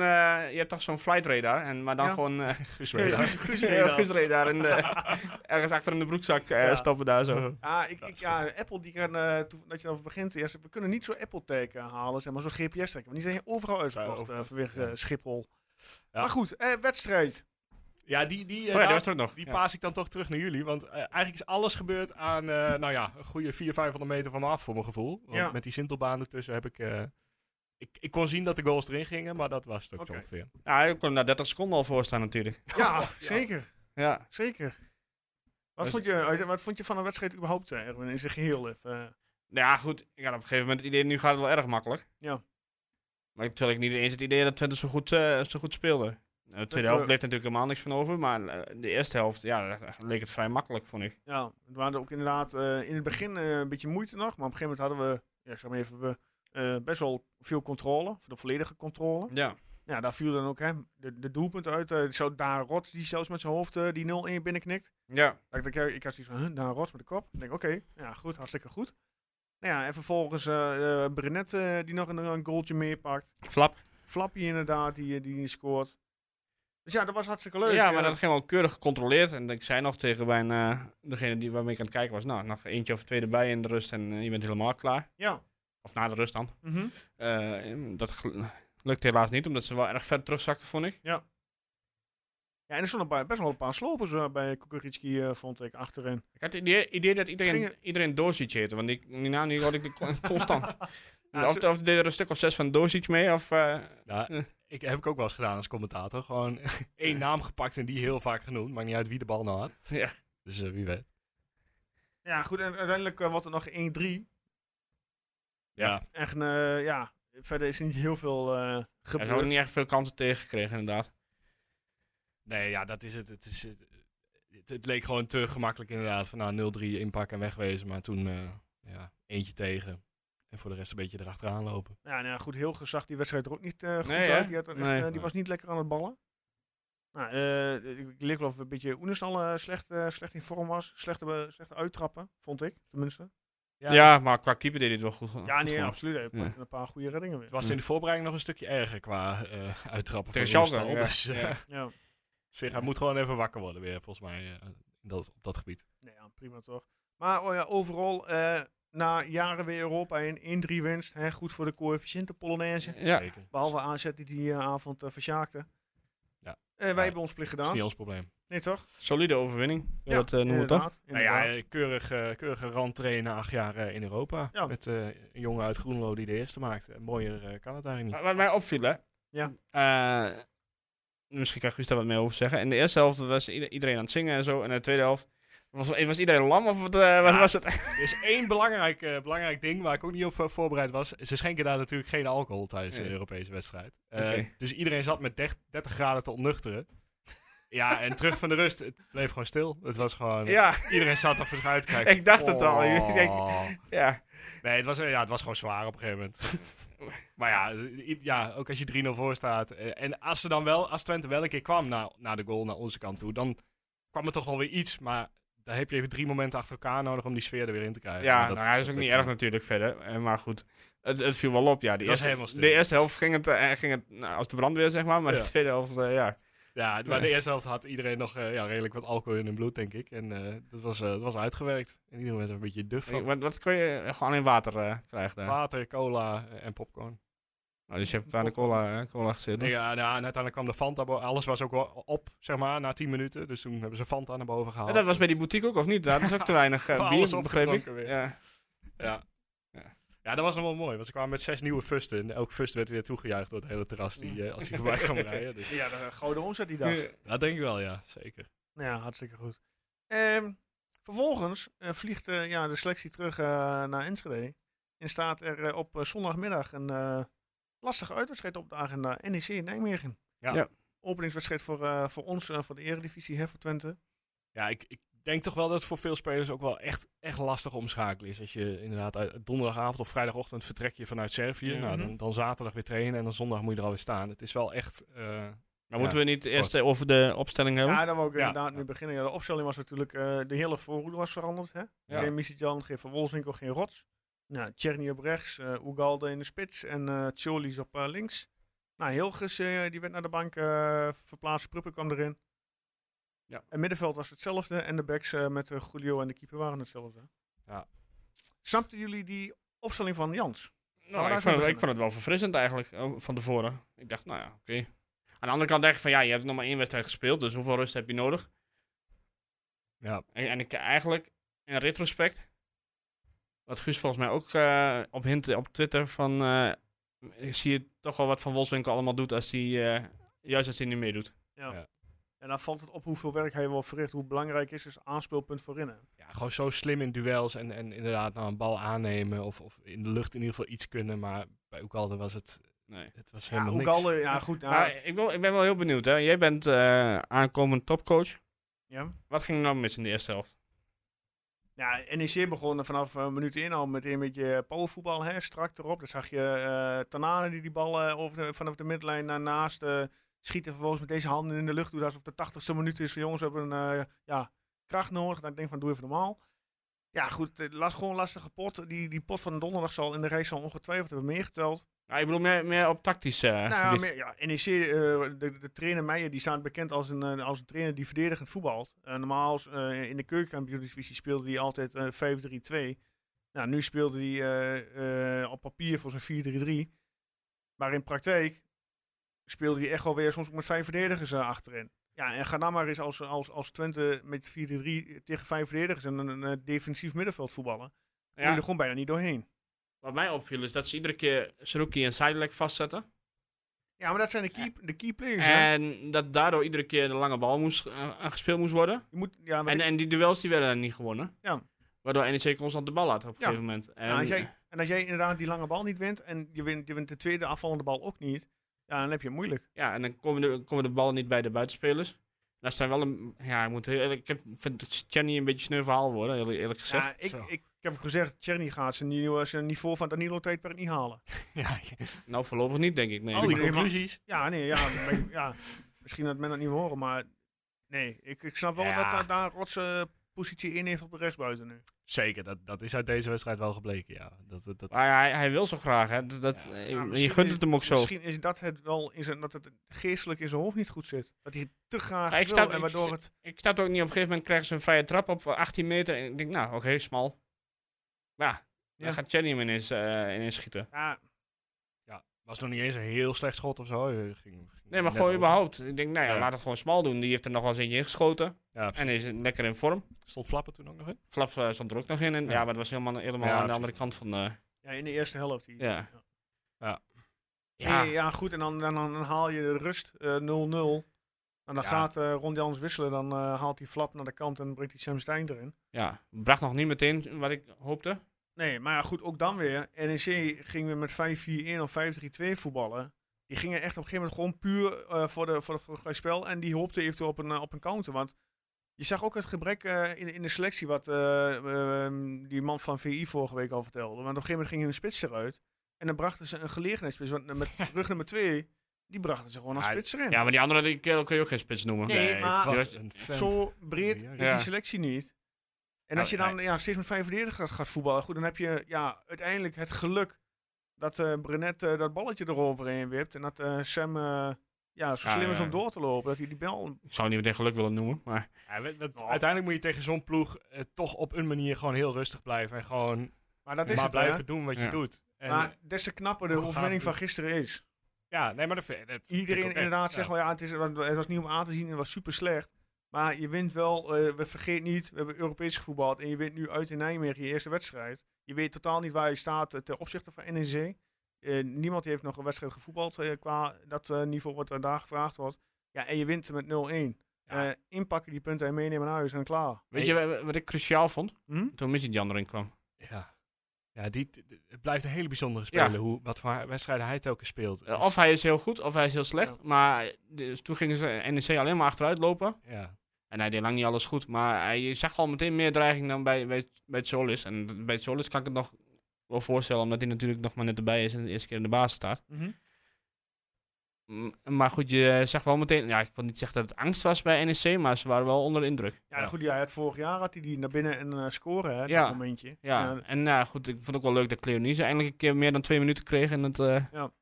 S5: je hebt toch zo'n flight radar, en, maar dan
S1: Ja.
S5: gewoon eh
S4: Guus Weerding.
S1: Guus
S5: ja,
S1: inderdaad.
S5: Guus radar en eh, ergens achter in de broekzak eh
S1: Ja.
S5: stappen daar zo.
S1: Ja, Ah, ik, ik, ja, Apple die kan, eh, toen- dat je erover begint eerst, we kunnen niet zo'n Apple tag eh, halen, zeg maar zo'n GPS tag, want die zijn overal
S4: Ja,
S1: uitverkocht eh
S4: overal.
S1: vanwege eh, Schiphol.
S4: Ja.
S1: Maar goed, eh, wedstrijd.
S4: Ja, die, die, eh,
S5: Oh ja, die
S4: daar-
S5: was er ook nog.
S4: Die
S5: Ja.
S4: paas ik dan toch terug naar jullie. Want eh, eigenlijk is alles gebeurd aan, eh, nou ja, een goede 400, 500 meter van me af, voor mijn gevoel. Want
S1: Ja.
S4: met die Sintelbaan ertussen heb ik, eh, ik... Ik kon zien dat de goals erin gingen, maar dat was het ook
S1: Oké.
S4: ongeveer.
S5: Ja, ik kon daar 30 seconden al voor staan natuurlijk.
S1: Ja, zeker,
S5: Ja.
S1: zeker. Wat
S5: Was-
S1: vond, je, eh, wat vond je van een wedstrijd überhaupt, eh, Erwin, in zijn geheel? Even, eh?
S5: Nou ja, goed. Ik had op een gegeven moment het idee, nu gaat het wel erg makkelijk.
S1: Ja.
S5: Maar ik- terwijl ik niet eens het idee had dat Twente zo goed, eh, zo goed speelde. Eh, de tweede helft
S1: eh,
S5: bleef er natuurlijk helemaal niks van over. Maar eh, de eerste helft, ja, daar leek het vrij makkelijk, vond ik.
S1: ja, het waren ook inderdaad eh, in het begin eh, een beetje moeite nog, maar op een gegeven moment hadden we, ja, ik zeg maar even, we, eh, best wel veel controle, de volledige controle.
S5: Ja.
S1: Ja, daar viel dan ook hè, de, de doelpunt uit. eh, zo Daan Rots, die zelfs met zijn hoofd eh, die 0-1 binnenknikt.
S5: Ja.
S1: Dat Ik, denk, ik had zoiets van, huh, Daan Rots met de kop. Ik denk, oké, ja, goed, hartstikke goed. Nou ja, en vervolgens eh eh, Brenet eh, die nog een, een goaltje meepakt.
S5: Flap.
S1: Flappy inderdaad, die, eh, die scoort. Dus ja, dat was hartstikke leuk.
S5: ja, maar dat ging wel keurig gecontroleerd. En ik zei nog tegen mijn, eh, degene die, waarmee ik aan het kijken was, nou, nog eentje of twee erbij in de rust en eh, je bent helemaal klaar.
S1: Ja.
S5: Of na de rust dan.
S1: mhm.
S5: Eh, dat gel- lukte helaas niet, omdat ze wel erg ver terugzakte, vond ik.
S1: ja, en er stonden een paar- best wel een paar slopers eh, bij Kukuritski, eh, vond ik, achterin.
S5: Ik had het idee, idee dat iedereen,
S1: Ze gingen-
S5: iedereen Dozic heette, want die, die naam die hoorde ik de- con- constant.
S1: Ja,
S5: of,
S1: ze-
S5: of deed er een stuk of zes van Dozic mee, of... eh,
S4: Nou,
S5: Eh.
S4: ik heb ik ook wel eens gedaan als commentator. Gewoon één naam gepakt en die heel vaak genoemd. Maakt niet uit wie de bal nou had.
S5: Ja.
S4: Dus eh, wie weet.
S1: Ja, goed, en uiteindelijk eh, wat er nog 1-3.
S5: Ja.
S1: Echt, eh, ja, verder is er niet heel veel eh
S5: ja, ze
S1: gebeurd.
S5: hadden niet echt veel kansen tegengekregen, inderdaad.
S4: Nee, ja, dat is het. Het, is het. het, het leek gewoon te gemakkelijk inderdaad. Van nou 0-3 inpakken en wegwezen. Maar toen eh, ja, eentje tegen. En voor de rest een beetje erachteraan lopen.
S1: Ja, nou ja, goed, heel gezag die wedstrijd er ook niet eh, goed
S5: Nee, hè?
S1: uit. Die, had er echt,
S5: Nee.
S1: eh, die was niet lekker aan het ballen. Nou, eh, ik- ik leek geloof ik een beetje Oenes al eh, slecht, eh, slecht in vorm was. Slechte, eh, slechte uittrappen, vond ik, tenminste.
S5: Ja, maar qua keeper deed hij het wel goed.
S1: Ja,
S5: goed
S1: nee,
S5: gewoon.
S1: absoluut. Hij pakte een paar goede reddingen weer.
S4: Het was in de voorbereiding nog een stukje erger qua eh, uittrappen
S5: Tegen
S4: van
S5: Schalke,
S4: Oerstal.
S5: ja.
S4: Dus eh,
S5: Ja.
S1: Ja.
S4: zich, hij moet gewoon even wakker worden weer, volgens mij, eh, in dat, op dat gebied.
S1: Nee, ja, prima toch. Maar oh ja, overal, eh, na jaren weer Europa in 1-3 winst. Hè, goed voor de coëfficiënte Polonaise.
S5: Ja.
S4: Zeker.
S1: Behalve AZ die die eh, avond eh, verzaakte.
S4: Ja.
S1: Eh, wij
S4: Ja.
S1: hebben ons plicht
S4: Dat is
S1: gedaan.
S4: niet ons probleem.
S1: Nee, toch?
S5: Solide overwinning, ja, dat eh, noemen we toch?
S1: inderdaad,
S4: Nou ja,
S1: inderdaad.
S4: eh, keurig, eh, keurige randtrainen na acht jaar eh, in Europa.
S1: Ja.
S4: Met eh, een jongen uit Groenlo die de eerste maakte. En Mooier eh, kan het eigenlijk niet.
S5: Wat mij opviel, hè?
S1: Ja.
S5: Eh, misschien kan Guus daar wat meer over zeggen. In de eerste helft was ieder- iedereen aan het zingen en zo. En in de tweede helft was, was iedereen lam of wat, eh, wat
S4: Ja.
S5: was het?
S4: Er is één belangrijk, eh, belangrijk ding waar ik ook niet op eh, voorbereid was. Ze schenken daar natuurlijk geen alcohol tijdens een
S5: Nee.
S4: Europese wedstrijd. Eh,
S5: Oké.
S4: Dus iedereen zat met dech- 30 graden te ontnuchteren. Ja, en terug van de rust, het bleef gewoon stil. Het was gewoon, eh,
S5: Ja,
S4: iedereen zat er voor zich uit te kijken.
S5: ik dacht het al. Ik denk,
S4: Oh.
S5: ja.
S4: Nee, het was, ja, het was gewoon zwaar op een gegeven moment. maar ja, i- ja, ook als je 3-0 voor staat. eh, En als, ze dan wel, als Twente wel een keer kwam naar, naar de goal, naar onze kant toe, dan kwam er toch wel weer iets. Maar daar heb je even drie momenten achter elkaar nodig om die sfeer er weer in te krijgen.
S5: Ja,
S4: En dat-
S5: nou, hij is ook
S4: dat-
S5: niet
S4: dat-
S5: erg natuurlijk verder. eh, Maar goed, het, het viel wel op. Ja, de,
S4: Dat is
S5: eerste,
S4: helemaal stil.
S5: de eerste helft ging het, eh, ging het nou, als de brandweer, zeg maar. Maar
S4: Ja.
S5: de tweede helft, eh, ja.
S4: Ja, maar de eerste helft had iedereen nog eh, ja, redelijk wat alcohol in hun bloed, denk ik. En eh, dat, was, eh, dat was uitgewerkt. En iedereen werd er een beetje duf
S5: Ik-
S4: van.
S5: Wat, wat kon je eh, gewoon alleen water eh, krijgen daar?
S4: Water, cola eh, en popcorn.
S5: Nou, dus je hebt aan de cola, eh, cola gezeten.
S4: Nee, ja, nou, en uiteindelijk kwam de Fanta. bo- Alles was ook wel op, zeg maar, na 10 minuten. Dus toen hebben ze Fanta naar boven
S5: En
S4: gehaald.
S5: dat was bij die boutique ook, of niet? Daar is ook te weinig eh,
S4: Van alles
S5: bier, begreep ik.
S4: opgedronken weer.
S5: Ja.
S4: Ja. Ja, dat was nog wel mooi, want ze kwamen met zes nieuwe fusten. En elk fust werd weer toegejuicht door het hele terras die, eh, als die voorbij kwam rijden. Dus.
S1: Ja, de gouden omzet die dag.
S4: Dat denk ik wel, ja, zeker.
S1: Nou ja, hartstikke goed. Ehm, vervolgens eh, vliegt eh, ja, de selectie terug eh, naar Enschede. En staat er eh, op eh, zondagmiddag een eh, lastige uitwedstrijd op de agenda. NEC in Nijmegen.
S4: Ja.
S5: Ja.
S1: Openingswedstrijd voor, eh, voor ons, eh, voor de eredivisie, hè, voor Twente.
S4: Ja, ik, ik denk toch wel dat het voor veel spelers ook wel echt, echt lastig omschakelen is. Als je inderdaad uit- donderdagavond of vrijdagochtend vertrek je vanuit Servië.
S5: Ja.
S4: Nou,
S1: Mhm.
S4: dan, dan zaterdag weer trainen en dan zondag moet je er alweer staan. Het is wel echt eh,
S5: Maar moeten we niet eerst eh, over de opstelling hebben?
S1: Ja, dan wil ik
S4: Ja.
S1: inderdaad nu beginnen. Ja, de opstelling was natuurlijk, eh, de hele voorhoede was veranderd. Hè?
S4: Ja.
S1: Geen Misitjan, geen Van Wolfswinkel, geen Rots. Nou, Tjerni op rechts, eh Ugalde in de spits en eh Cholis op eh, links. Nou, Hilgers, eh, die werd naar de bank eh, verplaatst. Pruppen kwam erin.
S4: Ja.
S1: En middenveld was hetzelfde. En de backs eh, met eh, Julio en de keeper waren hetzelfde.
S4: Ja.
S1: Snapten jullie die opstelling van Jans?
S5: Nou,
S1: daar
S5: ik,
S1: zijn
S5: vond
S1: we
S5: het, ik
S1: beginnen.
S5: vond het wel verfrissend eigenlijk eh, van tevoren. Ik dacht, nou ja, oké. Aan de andere kant dacht ik van ja, je hebt nog maar één wedstrijd gespeeld, dus hoeveel rust heb je nodig?
S4: Ja.
S5: En, en ik eigenlijk in retrospect, wat Guus volgens mij ook eh, op hint op Twitter van eh, ik zie toch wel wat van Wolfswinkel allemaal doet als hij eh, juist als hij niet meedoet.
S1: En dan valt het op hoeveel werk hij wel verricht. Hoe belangrijk is dus aanspeelpunt voorin. hè?
S4: Ja, gewoon zo slim in duels en, en inderdaad nou een bal aannemen of, of in de lucht in ieder geval iets kunnen. Maar bij Oekalde was het,
S5: Nee.
S4: het was
S1: Ja,
S4: helemaal niks.
S1: Ugalde, ja goed. nou,
S5: Maar ik, wil, ik ben wel heel benieuwd. Hè. Jij bent eh, aankomend topcoach.
S1: ja.
S5: Wat ging er nou mis in de eerste helft?
S1: Ja, NEC begon vanaf eh, minuut 1 al meteen een beetje powervoetbal, hè, strak erop. Dan zag je eh Tanane die die bal eh, over de- vanaf de midlijn naar naast eh, schiet en vervolgens met deze handen in de lucht doet. Alsof de 80ste minuut is van jongens, we hebben eh, ja, kracht nodig. Dan denk ik van, doe even normaal. Ja goed, eh, las, gewoon een lastige pot. Die, die pot van donderdag zal in de race zal ongetwijfeld hebben meegeteld.
S5: Nou, ik bedoel meer, meer op tactisch eh,
S1: Nou ja,
S5: gebied.
S1: meer- ja, NEC, eh, de, de trainer Meijer, die staat bekend als een, eh, als een trainer die verdedigend voetbalt. Eh, normaal als, eh, in de keukenkampioen-divisie speelde hij altijd eh, 5-3-2. Nou, nu speelde hij eh, eh, op papier voor zijn 4-3-3. Maar in praktijk speelde hij echt wel weer soms ook met vijf verdedigers eh, achterin. Ja, en ga dan maar eens als, als, als Twente met 4-3-3 tegen vijf verdedigers en een, een, eh, defensief middenveld voetballen. Ja.
S5: Ja.
S1: je er gewoon bijna niet doorheen.
S5: Wat mij opviel is dat ze iedere keer Saruki en Seidelijk vastzetten.
S1: Ja, maar dat zijn de key, de key players. hè?
S5: En dat daardoor iedere keer de lange bal moest, eh, eh, gespeeld moest worden.
S1: Je moet, ja, maar
S5: En, en die duels die werden niet gewonnen.
S1: Ja.
S5: Waardoor NEC constant de bal had op een
S1: Ja.
S5: gegeven moment. En,
S1: Ja, als jij, en als jij inderdaad die lange bal niet wint en je wint, je wint de tweede afvallende bal ook niet, ja, dan heb je het moeilijk.
S5: ja, en dan komen de, komen de ballen niet bij de buitenspelers. Dat zijn wel een... Ja, ik, moet heel, eerlijk- ik heb, vind Chenny een beetje een sneu verhaal worden, eerlijk, eerlijk gezegd.
S1: Ja, ik,
S4: Zo.
S1: ik, ik heb gezegd, Tjerni gaat zijn, nieuwe, zijn niveau van Danilo-tijdperk niet halen.
S4: Ja,
S5: Nou, voorlopig niet, denk ik. Nee.
S4: al die
S1: maar-
S4: conclusies.
S1: Ja, nee, ja, maar ik- ja misschien dat men dat niet wil horen, maar nee, ik, ik snap wel
S4: Ja.
S1: dat, dat daar Rotse positie in heeft op de rechtsbuiten nu.
S5: Eh,
S4: Zeker, dat, dat is uit deze wedstrijd wel gebleken. Ja. Dat, dat, dat,
S5: Maar ja, hij, hij wil zo graag, hè. Dat, dat, eh,
S1: Ja,
S5: je
S1: misschien
S5: gunt
S1: is-
S5: het hem ook zo.
S1: Misschien is dat het wel in zijn, dat het geestelijk in zijn hoofd niet goed zit. Dat hij het te graag
S5: Ja, ik
S1: wil
S5: snap-
S1: en
S5: ik
S1: waardoor
S5: s-
S1: het...
S5: Ik snap het ook niet, op een gegeven moment krijgen ze een vrije trap op eh, 18 meter. En ik denk, nou, oké, smal. Maar ja,
S1: Ja.
S5: dan gaat Chenny hem ineens, eh, ineens schieten.
S1: Ja,
S4: was nog niet eens een heel slecht schot of zo. eh, Ging, ging
S5: Nee, maar
S4: net
S5: gewoon
S4: over.
S5: überhaupt. Ik denk, nou ja,
S4: Ja.
S5: laat het gewoon smal doen. Die heeft er nog wel eens eentje ingeschoten.
S4: Ja,
S5: En is lekker in vorm.
S4: stond Flappen toen ook nog in.
S5: Flap eh, stond er ook nog in. En, ja.
S4: Ja.
S5: maar het was helemaal, helemaal
S4: Ja,
S5: aan de
S4: absoluut.
S5: andere kant van eh, de...
S1: ja, in de eerste helft. Die,
S5: Ja.
S1: Ja,
S5: Ja,
S1: ja goed. En dan, dan, dan haal je de rust eh, 0-0. en dan
S4: Ja.
S1: gaat eh Ron Jans wisselen. Dan eh, haalt hij Flap naar de kant en brengt hij Sam Stein erin.
S5: ja. Bracht nog niet meteen wat ik hoopte.
S1: Nee, maar ja, goed, ook dan weer. NEC ging weer met 5-4-1 of 5-3-2 voetballen. Die gingen echt op een gegeven moment gewoon puur eh, voor, de, voor, de, voor het gelijkspel. En die hoopte eventueel op een, eh, op een counter. Want je zag ook het gebrek eh, in, in de selectie wat eh, ehm, die man van VI vorige week al vertelde. Want op een gegeven moment ging hun spits eruit. En dan brachten ze een gelegenheidsspits. Want eh, met rug nummer 2, die brachten ze gewoon als
S4: Ja,
S1: spits erin.
S5: Ja, maar die andere die kun kun je ook geen spits noemen.
S1: Nee, maar-
S4: wat een vent.
S1: Zo breed is
S5: Ja.
S1: die selectie niet. En
S4: Ja,
S1: als je dan
S4: nee.
S1: ja, steeds met vijf verdedigers gaat- gaat voetballen, goed, dan heb je ja, uiteindelijk het geluk dat eh Brenet eh, dat balletje eroverheen wipt. En dat eh, Sam eh, ja, zo
S5: Ja,
S1: slim is
S5: ja.
S1: om door te lopen. Dat hij die bal.
S5: Ik zou het niet meteen geluk willen noemen, maar...
S4: Ja, we- dat- Uiteindelijk moet je tegen zo'n ploeg eh, toch op een manier gewoon heel rustig blijven. En gewoon
S1: Maar dat is
S4: maar
S1: het. hè.
S4: blijven doen wat
S5: Ja.
S4: je doet. En,
S1: maar des te knapper de
S4: hoe gaat
S1: overwinning
S4: het?
S1: van gisteren is.
S4: ja, nee, maar dat, vind- dat vind ik ook
S1: Iedereen
S4: echt,
S1: inderdaad
S4: ja.
S1: zegt wel, ja, het, is, het was niet om aan te zien en het was super slecht. Maar je wint wel, eh, we vergeet niet, we hebben Europees gevoetbald en je wint nu uit in Nijmegen je eerste wedstrijd. Je weet totaal niet waar je staat eh, ten opzichte van NEC. Eh, niemand heeft nog een wedstrijd gevoetbald eh, qua dat eh, niveau wat er daar gevraagd wordt. Ja, en je wint met 0-1.
S4: Ja.
S1: Eh, inpakken die punten en meenemen naar huis en klaar.
S5: Weet je wa- wat ik cruciaal vond?
S1: Hm?
S5: Toen Missy Jan erin kwam.
S4: Ja, ja die, die- die- het blijft een hele bijzondere
S5: Ja.
S4: speler. Hoe, wat voor wedstrijden hij telkens speelt. Dus
S5: Eh, Of hij is heel goed, of hij is heel slecht.
S1: Ja.
S5: Maar dus toen gingen ze NEC alleen maar achteruit lopen.
S4: Ja,
S5: En hij deed lang niet alles goed. Maar hij, je zag al meteen meer dreiging dan bij, bij, bij het Solis. En d- bij het Solis kan ik het nog Mhm. wel voorstellen, omdat hij natuurlijk nog maar net erbij is en de eerste keer in de baas staat. M- Mm, Maar goed, je zegt wel meteen... Ja, ik wil niet zeggen dat het angst was bij NEC, maar ze waren wel onder de indruk.
S1: Ja, goed, ja, het vorig jaar had hij die naar binnen en eh, scoren, hè,
S5: Ja.
S1: dat momentje.
S5: Ja,
S1: Ja,
S5: en nou goed, ik vond het ook wel leuk dat Cleonise eindelijk een keer meer dan twee minuten kreeg. En het, eh,
S1: Ja.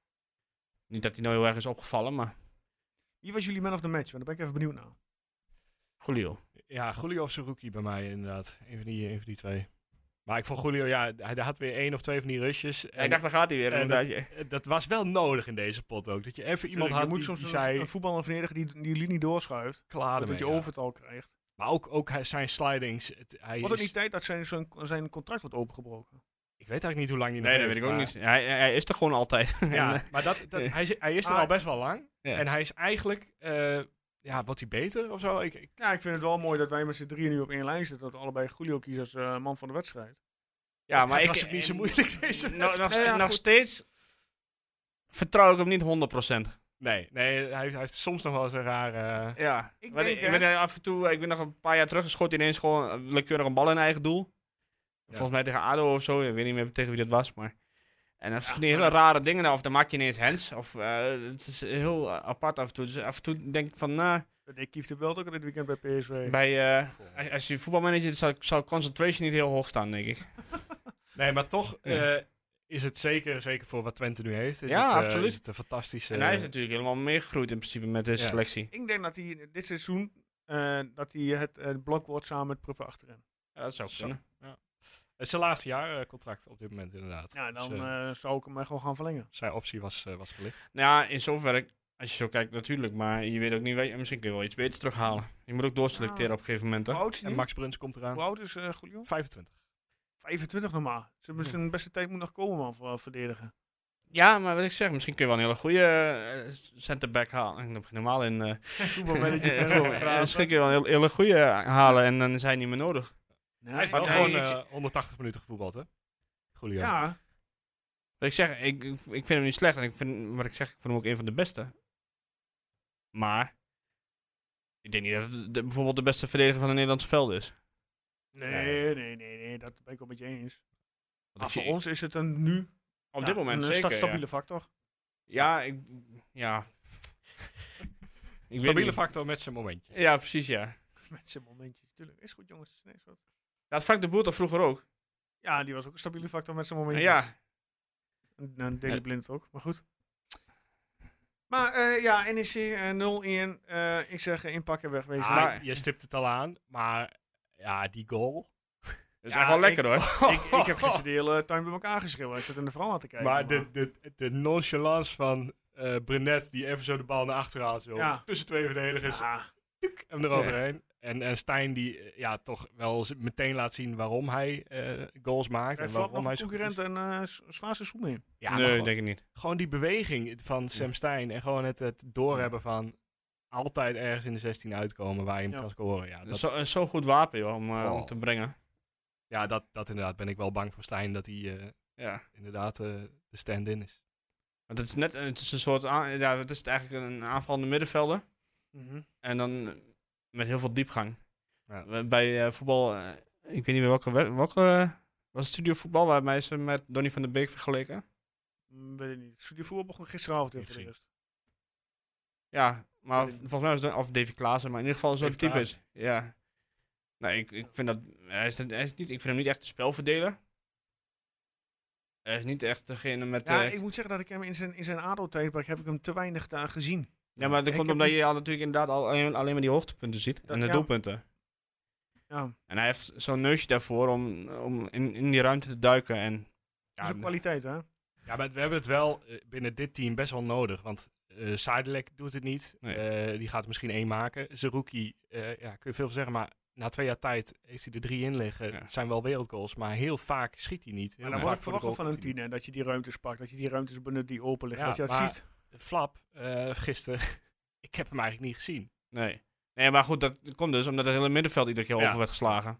S5: Niet dat hij nou heel erg is opgevallen, maar
S1: Wie was jullie man of the match? Want daar ben ik even benieuwd naar.
S5: Julio.
S4: Ja, Julio of Saruki bij mij inderdaad. Een van die, een van die twee. Maar ik vond Julio, ja, hij had weer één of twee van die rushes. En
S5: ik dacht, daar gaat hij weer.
S4: en
S5: inderdaad.
S4: dat, dat was wel nodig in deze pot ook. Dat je even iemand
S1: Tuurlijk,
S4: had
S1: je moet
S4: die,
S1: soms
S4: die
S1: een,
S4: zei,
S1: een voetballer verdedigen die die linie doorschuift.
S4: klaar
S1: Dat
S4: ermee,
S1: je
S4: ja.
S1: overtal krijgt.
S4: Maar ook, ook hij- zijn slidings. Het, hij
S1: Wat het
S4: is-
S1: niet tijd dat zijn, zijn, zijn contract wordt opengebroken.
S4: ik weet eigenlijk niet hoe lang hij nog
S5: Nee, dat
S4: heeft,
S5: weet ik ook
S4: maar-
S5: niet. Hij, hij- hij is er gewoon altijd. eh,
S4: Ja, maar dat, dat, hij, is- hij is er
S1: Ah.
S4: al best wel lang.
S5: Ja.
S4: En hij is eigenlijk, eh, ja, wordt hij beter of zo? Ik, ik-
S1: Ja, ik vind het wel mooi dat wij met z'n drieën nu op één lijn zitten. Dat we allebei Julio kiezen als eh, man van de wedstrijd.
S5: ja,
S4: het was ook niet zo moeilijk deze
S5: Nog, nog,
S4: wedstrijd.
S5: ste-
S1: Ja,
S5: nog
S1: goed.
S5: steeds vertrouw ik hem niet 100%.
S4: Nee, nee hij, heeft- hij heeft soms nog wel eens een eh, rare...
S5: Ja.
S1: Ik
S5: Ik,
S1: denk,
S5: ik,
S1: hè.
S5: ben eh, af en toe, ik ben nog een paar jaar terug geschoten ineens gewoon eh, willekeurig een bal in eigen doel. Volgens mij tegen ADO of zo, ik weet niet meer tegen wie dat was, maar... En dan van die hele rare dingen, nou, of dan maak je ineens hands, of... eh, het is heel eh, apart af en toe. Dus af en toe denk ik van, nou,
S1: Dat deed Kief de Belt ook dit weekend bij PSV.
S5: bij... eh, als- als je voetbalmanager is, zal, zal concentration niet heel hoog staan, denk ik.
S4: Nee, maar toch
S5: Ja.
S4: eh, is het zeker, zeker voor wat Twente nu heeft. Is
S5: Ja,
S4: het, eh,
S5: absoluut.
S4: Is het een fantastische...
S5: En hij is natuurlijk helemaal meegegroeid in principe met deze
S4: Ja.
S5: selectie.
S1: Ik denk dat hij dit seizoen eh, dat hij het eh, blok wordt samen met Pruffen achterin.
S5: Ja, dat zou
S4: Zo.
S5: kunnen.
S4: het is zijn laatste jaar eh, contract op dit moment inderdaad.
S1: Ja, dan
S4: Dus, eh,
S1: eh, zou ik hem eh, gewoon gaan verlengen.
S4: zijn optie was, eh, was gelicht.
S5: Nou ja, in zoverre, als je zo kijkt natuurlijk, maar je weet ook niet, weet, je- misschien kun je wel iets beters terughalen. Je moet ook doorselecteren op een gegeven moment, hè.
S1: Hoe oud is hij
S4: En
S1: nu?
S4: Max Bruns komt
S1: Hoe
S4: eraan.
S1: oud is eh, Julio?
S4: 25.
S1: 25 nog maar. Zijn- Zijn beste tijd moet nog komen, man, voor eh, verdedigen.
S5: Ja, maar wat ik zeg, misschien kun je wel een hele goede eh, centerback halen. Ik begin normaal in... eh
S1: Voetbalmanager.
S5: eh, eh, misschien kun je wel een hele, hele goede halen en dan zijn die niet meer nodig.
S4: Hij heeft
S5: nee,
S4: wel
S5: nee,
S4: gewoon
S5: ik
S4: eh,
S5: zie-
S4: 180 minuten gevoetbald, hè? Julio.
S1: Ja,
S5: Wat ik zeg, ik, ik ik vind hem niet slecht. En ik vind, wat ik zeg, ik vind hem ook een van de beste. Maar... Ik denk niet dat het de- bijvoorbeeld de beste verdediger van de Nederlandse veld is.
S1: nee, nee, nee, nee, dat ben ik wel met je eens.
S5: Want
S1: Maar
S5: ik
S1: voor
S5: zie-
S1: ons is het een, nu
S5: op
S1: ja,
S5: dit moment
S1: een
S5: zeker,
S1: sta-
S5: ja.
S1: stabiele factor.
S5: Ja, ik... Ja. ik weet
S4: Stabiele
S5: niet.
S4: factor met zijn momentje.
S5: Ja, precies, ja.
S1: Met zijn momentjes. Tuurlijk, is goed, jongens. Nee, is wat.
S5: Dat Frank de Boer toch vroeger ook?
S1: Ja, die was ook een stabiele factor met zijn momentjes.
S5: Ja.
S1: En, en Daily
S5: Ja.
S1: Blind ook, maar goed. Maar eh, ja, NEC eh, 0-1. eh, ik zeg eh, inpakken wegwezen.
S4: Ah,
S5: Maar-
S4: je stipt het al aan, maar ja, die goal.
S5: Dat is
S1: Ja,
S5: echt wel lekker
S1: ik-
S5: hoor.
S1: ik, ik heb gisteren de hele tuin bij elkaar geschreeuwd. Ik zat in de verhaal aan te kijken.
S4: Maar de, de, de nonchalance van eh Brenet, die even zo de bal naar achter haalt. joh.
S1: Ja.
S4: Tussen twee verdedigers,
S1: Ja,
S4: hem eroverheen. En, en Stijn die eh, ja, toch wel z- meteen laat zien waarom hij eh, goals maakt.
S1: hij
S4: en
S1: valt
S4: waarom
S1: nog
S4: hij
S1: een
S4: zo goed is.
S1: concurrent een eh, z- zwaar seizoen in.
S4: Ja, maar
S5: nee,
S4: gewoon,
S5: denk ik niet.
S4: gewoon die beweging van Sam Stijn. En gewoon het, het doorhebben van altijd ergens in de 16 uitkomen waar je hem
S1: Ja.
S4: kan scoren. Ja, dat,
S5: Zo- eh, Zo'n goed wapen joh, om, eh,
S4: Goh.
S5: om te brengen.
S4: ja dat, dat inderdaad ben ik wel bang voor Stijn dat hij eh,
S5: Ja.
S4: inderdaad eh, de stand-in is.
S5: Want het is net het is een soort. aan- ja, het is eigenlijk een aanvallende middenvelder. En dan eh, met heel veel diepgang.
S4: Ja.
S5: We- Bij eh, voetbal. eh, ik weet niet meer welke. wed- welke eh, was het studio voetbal waarmee ze met Donny van der Beek vergeleken?
S1: Mm, weet ik niet. Studie voetbal begon gisteravond
S4: Niet
S1: even voor de
S4: gezien.
S1: rest.
S5: Ja, maar
S1: Weet ik
S5: volgens mij was het. Of Davy Klaassen, maar in ieder geval zo'n
S4: Davy
S5: type is. Ja. Nou, ik, ik vind dat. Hij is, hij is niet, ik vind hem niet echt een spelverdeler. Hij is niet echt degene met.
S1: Ja,
S5: eh,
S1: ik moet zeggen dat ik hem in zijn, in zijn ADO-tijdperk heb ik hem te weinig daar gezien.
S5: Ja, maar dat
S1: Ik
S5: komt
S1: heb
S5: omdat
S1: niet-
S5: je al natuurlijk inderdaad al alleen, alleen maar die hoogtepunten ziet.
S1: Dat-
S5: en de
S1: ja.
S5: doelpunten.
S1: Ja,
S5: En hij heeft zo'n neusje daarvoor om, om in, in die ruimte te duiken. En,
S1: dat is
S5: ja,
S1: ook kwaliteit, hè?
S4: Ja, maar we hebben het wel eh, binnen dit team best wel nodig. Want eh Sidelec doet het niet.
S5: Nee.
S4: Eh, die gaat er misschien één maken. Zerouki, eh ja, kun je veel van zeggen. Maar na twee jaar tijd heeft hij er drie in liggen.
S5: Ja.
S4: Het zijn wel wereldgoals, maar heel vaak schiet hij niet.
S1: Maar
S4: Heel
S1: dan
S4: vaak
S1: wordt ik
S4: voor de
S1: verwacht wel van
S4: goal
S1: een
S4: komt hij
S1: tien, hè, dat je die ruimtes pakt. Dat je die ruimtes benut die open liggen.
S4: Ja,
S1: dat je dat
S4: maar-
S1: ziet.
S4: niet. Flap, eh gisteren. ik heb hem eigenlijk niet gezien.
S5: nee. nee, maar goed, dat komt dus omdat het hele middenveld iedere keer
S4: Ja.
S5: over werd geslagen.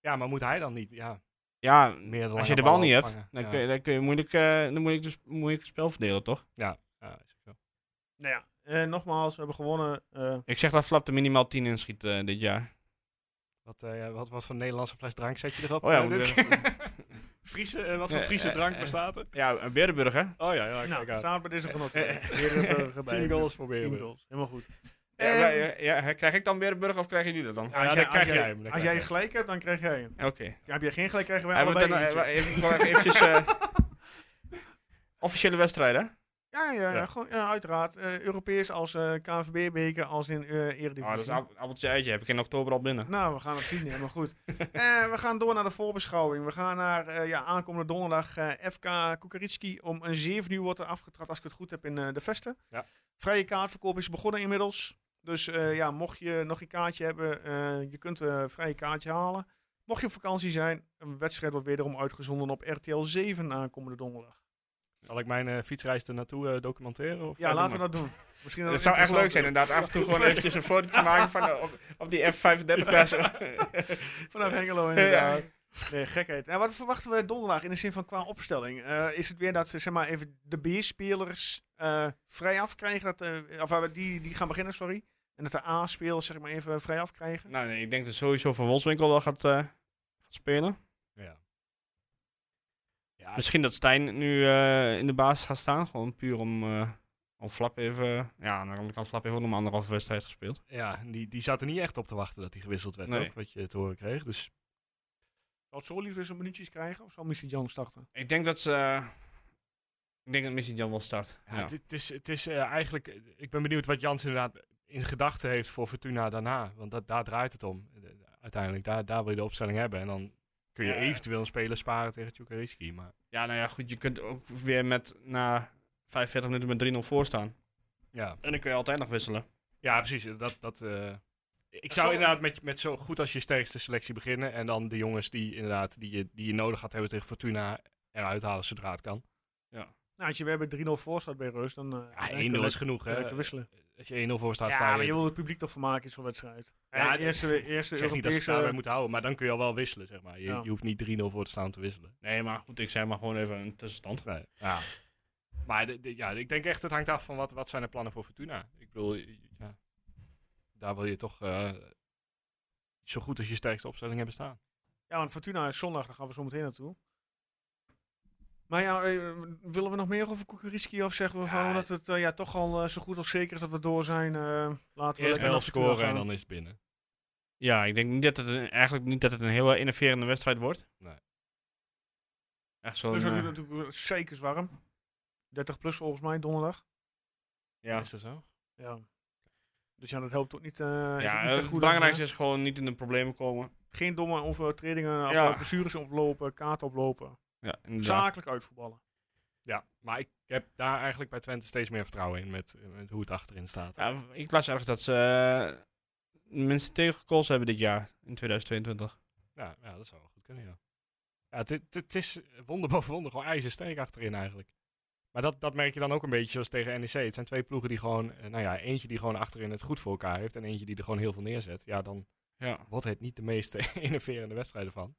S4: Ja, maar moet hij dan niet? Ja,
S5: Ja,
S4: meer dan
S5: als je de bal niet hebt, dan, kun je, dan kun je moeilijk, eh, dan moeilijk, dus moeilijk spel verdelen, toch?
S4: Ja, is ook zo.
S1: Nou ja, eh, nogmaals, we hebben gewonnen. eh,
S5: Ik zeg dat Flap er minimaal 10 in schiet eh, dit jaar.
S4: Wat, eh, wat, wat voor Nederlandse fles drank zet je erop?
S5: Oh ja,
S4: Eh,
S5: moet
S4: dit-
S5: ik-
S6: Friese, eh, wat voor
S5: Eh,
S6: Friese
S5: eh,
S6: drank
S5: eh.
S6: bestaat er?
S5: Ja, eh, Weerdenburg, hè?
S6: Oh ja, ja,
S1: Nou,
S6: kijk aan.
S1: staat bij deze genoteerd. Weerdenburg erbij.
S6: 10 goals voor
S1: 10
S6: Weerdenburg.
S1: goals. Helemaal goed.
S5: Ja,
S1: Ehm,
S5: maar, eh, ja, hè, krijg ik dan Weerdenburg of krijgen jullie dat dan?
S1: Ja, als
S4: dan
S1: jij-
S4: krijg
S1: als
S4: jij
S1: jij-
S4: hem, dan
S1: Als
S4: krijg
S1: jij gelijk hebt, dan krijg jij hem.
S5: Oké.
S1: Ja, Heb jij geen gelijk, krijgen wij
S5: Hij wordt
S1: allebei
S5: dan,
S1: een
S5: eh,
S1: eentje.
S5: even, ik wil even eventjes... eh, officiële wedstrijden, hè?
S1: Ja, ja, ja,
S5: Ja.
S1: gewoon, ja, uiteraard. Eh, Europees als KVB-beker, als in eh Eredivisie.
S5: Ah, dat is een appeltje eitje. Heb ik in oktober al binnen.
S1: Nou, we gaan het zien, hè, maar goed. Eh, we gaan door naar de voorbeschouwing. We gaan naar eh, ja, aankomende donderdag eh, FK Kukaritski. Om een 7 uur wordt er afgetrapt, als ik het goed heb, in eh, de Vesten.
S4: Ja.
S1: Vrije kaartverkoop is begonnen inmiddels. Dus eh, ja, mocht je nog een kaartje hebben, eh, je kunt eh, een vrije kaartje halen. Mocht je op vakantie zijn, een wedstrijd wordt wederom uitgezonden op RTL 7 aankomende donderdag.
S4: Zal ik mijn eh, fietsreis ernaartoe eh, documenteren? Of
S1: Ja, laten we dat doen. Misschien dat
S5: Het
S1: het
S5: zou echt leuk
S1: interessant
S5: zijn, inderdaad. Af en toe gewoon eventjes een foto maken van eh, op, op die F35-pers.
S1: Vanaf Hengelo inderdaad. Nee, gekheid. En wat verwachten we donderdag in de zin van qua opstelling? Eh, is het weer dat ze zeg maar even de B-spelers eh, vrij afkrijgen? Dat, eh, of eh, die, die gaan beginnen, sorry. En dat de A-spelers zeg maar even vrij afkrijgen?
S5: nou, nee, ik denk dat sowieso Van Wolfswinkel wel gaat, eh, gaat spelen.
S4: Ja. Ja, dus,
S5: Misschien dat Stijn nu eh, in de basis gaat staan. Gewoon puur om, eh, om Flap even... Ja, aan de andere kant Flap heeft ook nog een anderhalve wedstrijd gespeeld.
S4: ja die, die zat er niet echt op te wachten dat hij gewisseld werd,
S5: Nee.
S4: ook, wat je te horen kreeg. Dus
S1: Zal Soli weer zo'n minuutjes krijgen? Of zal Missy Jones starten?
S5: Ik denk dat ze... eh, ik denk dat Missy Jan wel start.
S4: ja, het, het is, het is eh, eigenlijk... Ik ben benieuwd wat Jans inderdaad in gedachten heeft voor Fortuna daarna. Want dat, daar draait het om. eh, Uiteindelijk, daar, daar wil je de opstelling hebben. En dan kun je
S5: Ja.
S4: eventueel een speler sparen tegen Tjukariski. Maar
S5: Ja, nou ja, goed. Je kunt ook weer met na 45 minuten met 3-0 voor staan.
S4: ja,
S5: En dan kun je altijd nog wisselen.
S4: ja precies. eh, Dat, dat, eh, ik
S1: zal-
S4: zou inderdaad met, met zo goed als je sterkste selectie beginnen. En dan de jongens die, inderdaad, die, je, die je nodig gaat hebben tegen Fortuna eruit halen zodra het kan.
S1: Nou, als je weer bij 3-0 voor staat bij Reus, dan... eh, dan
S4: Ja,
S1: kun je
S4: 1-0 is eh,
S1: lekker-
S4: genoeg.
S1: kun je
S4: Hè?
S1: lekker wisselen.
S4: Als je 1-0 voor staat,
S1: Ja,
S4: sta
S1: maar je
S4: je...
S1: wil het publiek toch vermaken in zo'n wedstrijd.
S4: Ja,
S1: Ja, eerste eerste
S4: Ik zeg niet dat ze
S1: Europese...
S4: daarbij moeten houden, maar dan kun je al wel wisselen, zeg maar. Je,
S1: Ja.
S4: je hoeft niet 3-0 voor te staan om te wisselen.
S5: Nee, maar goed. Ik zei maar gewoon even een tussenstand.
S4: Nee. Ja. Maar de- de- ja, ik denk echt, het hangt af van wat, wat zijn de plannen voor Fortuna. Ik bedoel, ja, daar wil je toch eh, zo goed als je sterkste opstelling hebben staan.
S1: Ja, want Fortuna is zondag, daar gaan we zo meteen naartoe. Maar ja, eh, willen we nog meer over Kukuritski of zeggen we van
S4: Ja,
S1: dat het eh, ja, toch al eh, zo goed als zeker is dat we door zijn? eh, laten we
S4: Eerst
S1: lekker naar
S4: helft
S1: Fortuna
S4: scoren
S1: gaan.
S4: en dan is het binnen.
S5: Ja, ik denk niet dat het een, eigenlijk niet dat het een hele innoverende wedstrijd wordt.
S4: Nee.
S5: Echt zo'n...
S1: Dus dat
S5: eh,
S1: doet het natuurlijk zeker warm. 30 plus volgens mij donderdag.
S5: ja,
S4: Is dat zo?
S1: Ja. Dus ja, dat helpt ook niet. eh, is ook
S5: ja
S1: niet te
S5: het
S1: goed
S5: belangrijkste
S1: aan,
S5: is gewoon niet in de problemen komen.
S1: hè? Geen domme overtredingen, of
S5: Ja.
S1: eh, blessures oplopen, kaart oplopen.
S5: Ja, inderdaad.
S1: Zakelijk uitvoetballen.
S4: Ja, maar ik heb daar eigenlijk bij Twente steeds meer vertrouwen in met, met hoe het achterin staat.
S5: Ja, ik las ergens dat ze eh, mensen tegengekozen hebben dit jaar, in 2022.
S4: Ja, ja, dat zou wel goed kunnen, ja. Ja, het, het, het is wonder boven wonder gewoon ijzersterk achterin eigenlijk. Maar dat, dat merk je dan ook een beetje zoals tegen NEC. Het zijn twee ploegen die gewoon, eh, nou ja, eentje die gewoon achterin het goed voor elkaar heeft en eentje die er gewoon heel veel neerzet. Ja, dan
S5: Ja.
S4: wordt het niet de meest innoverende wedstrijden van.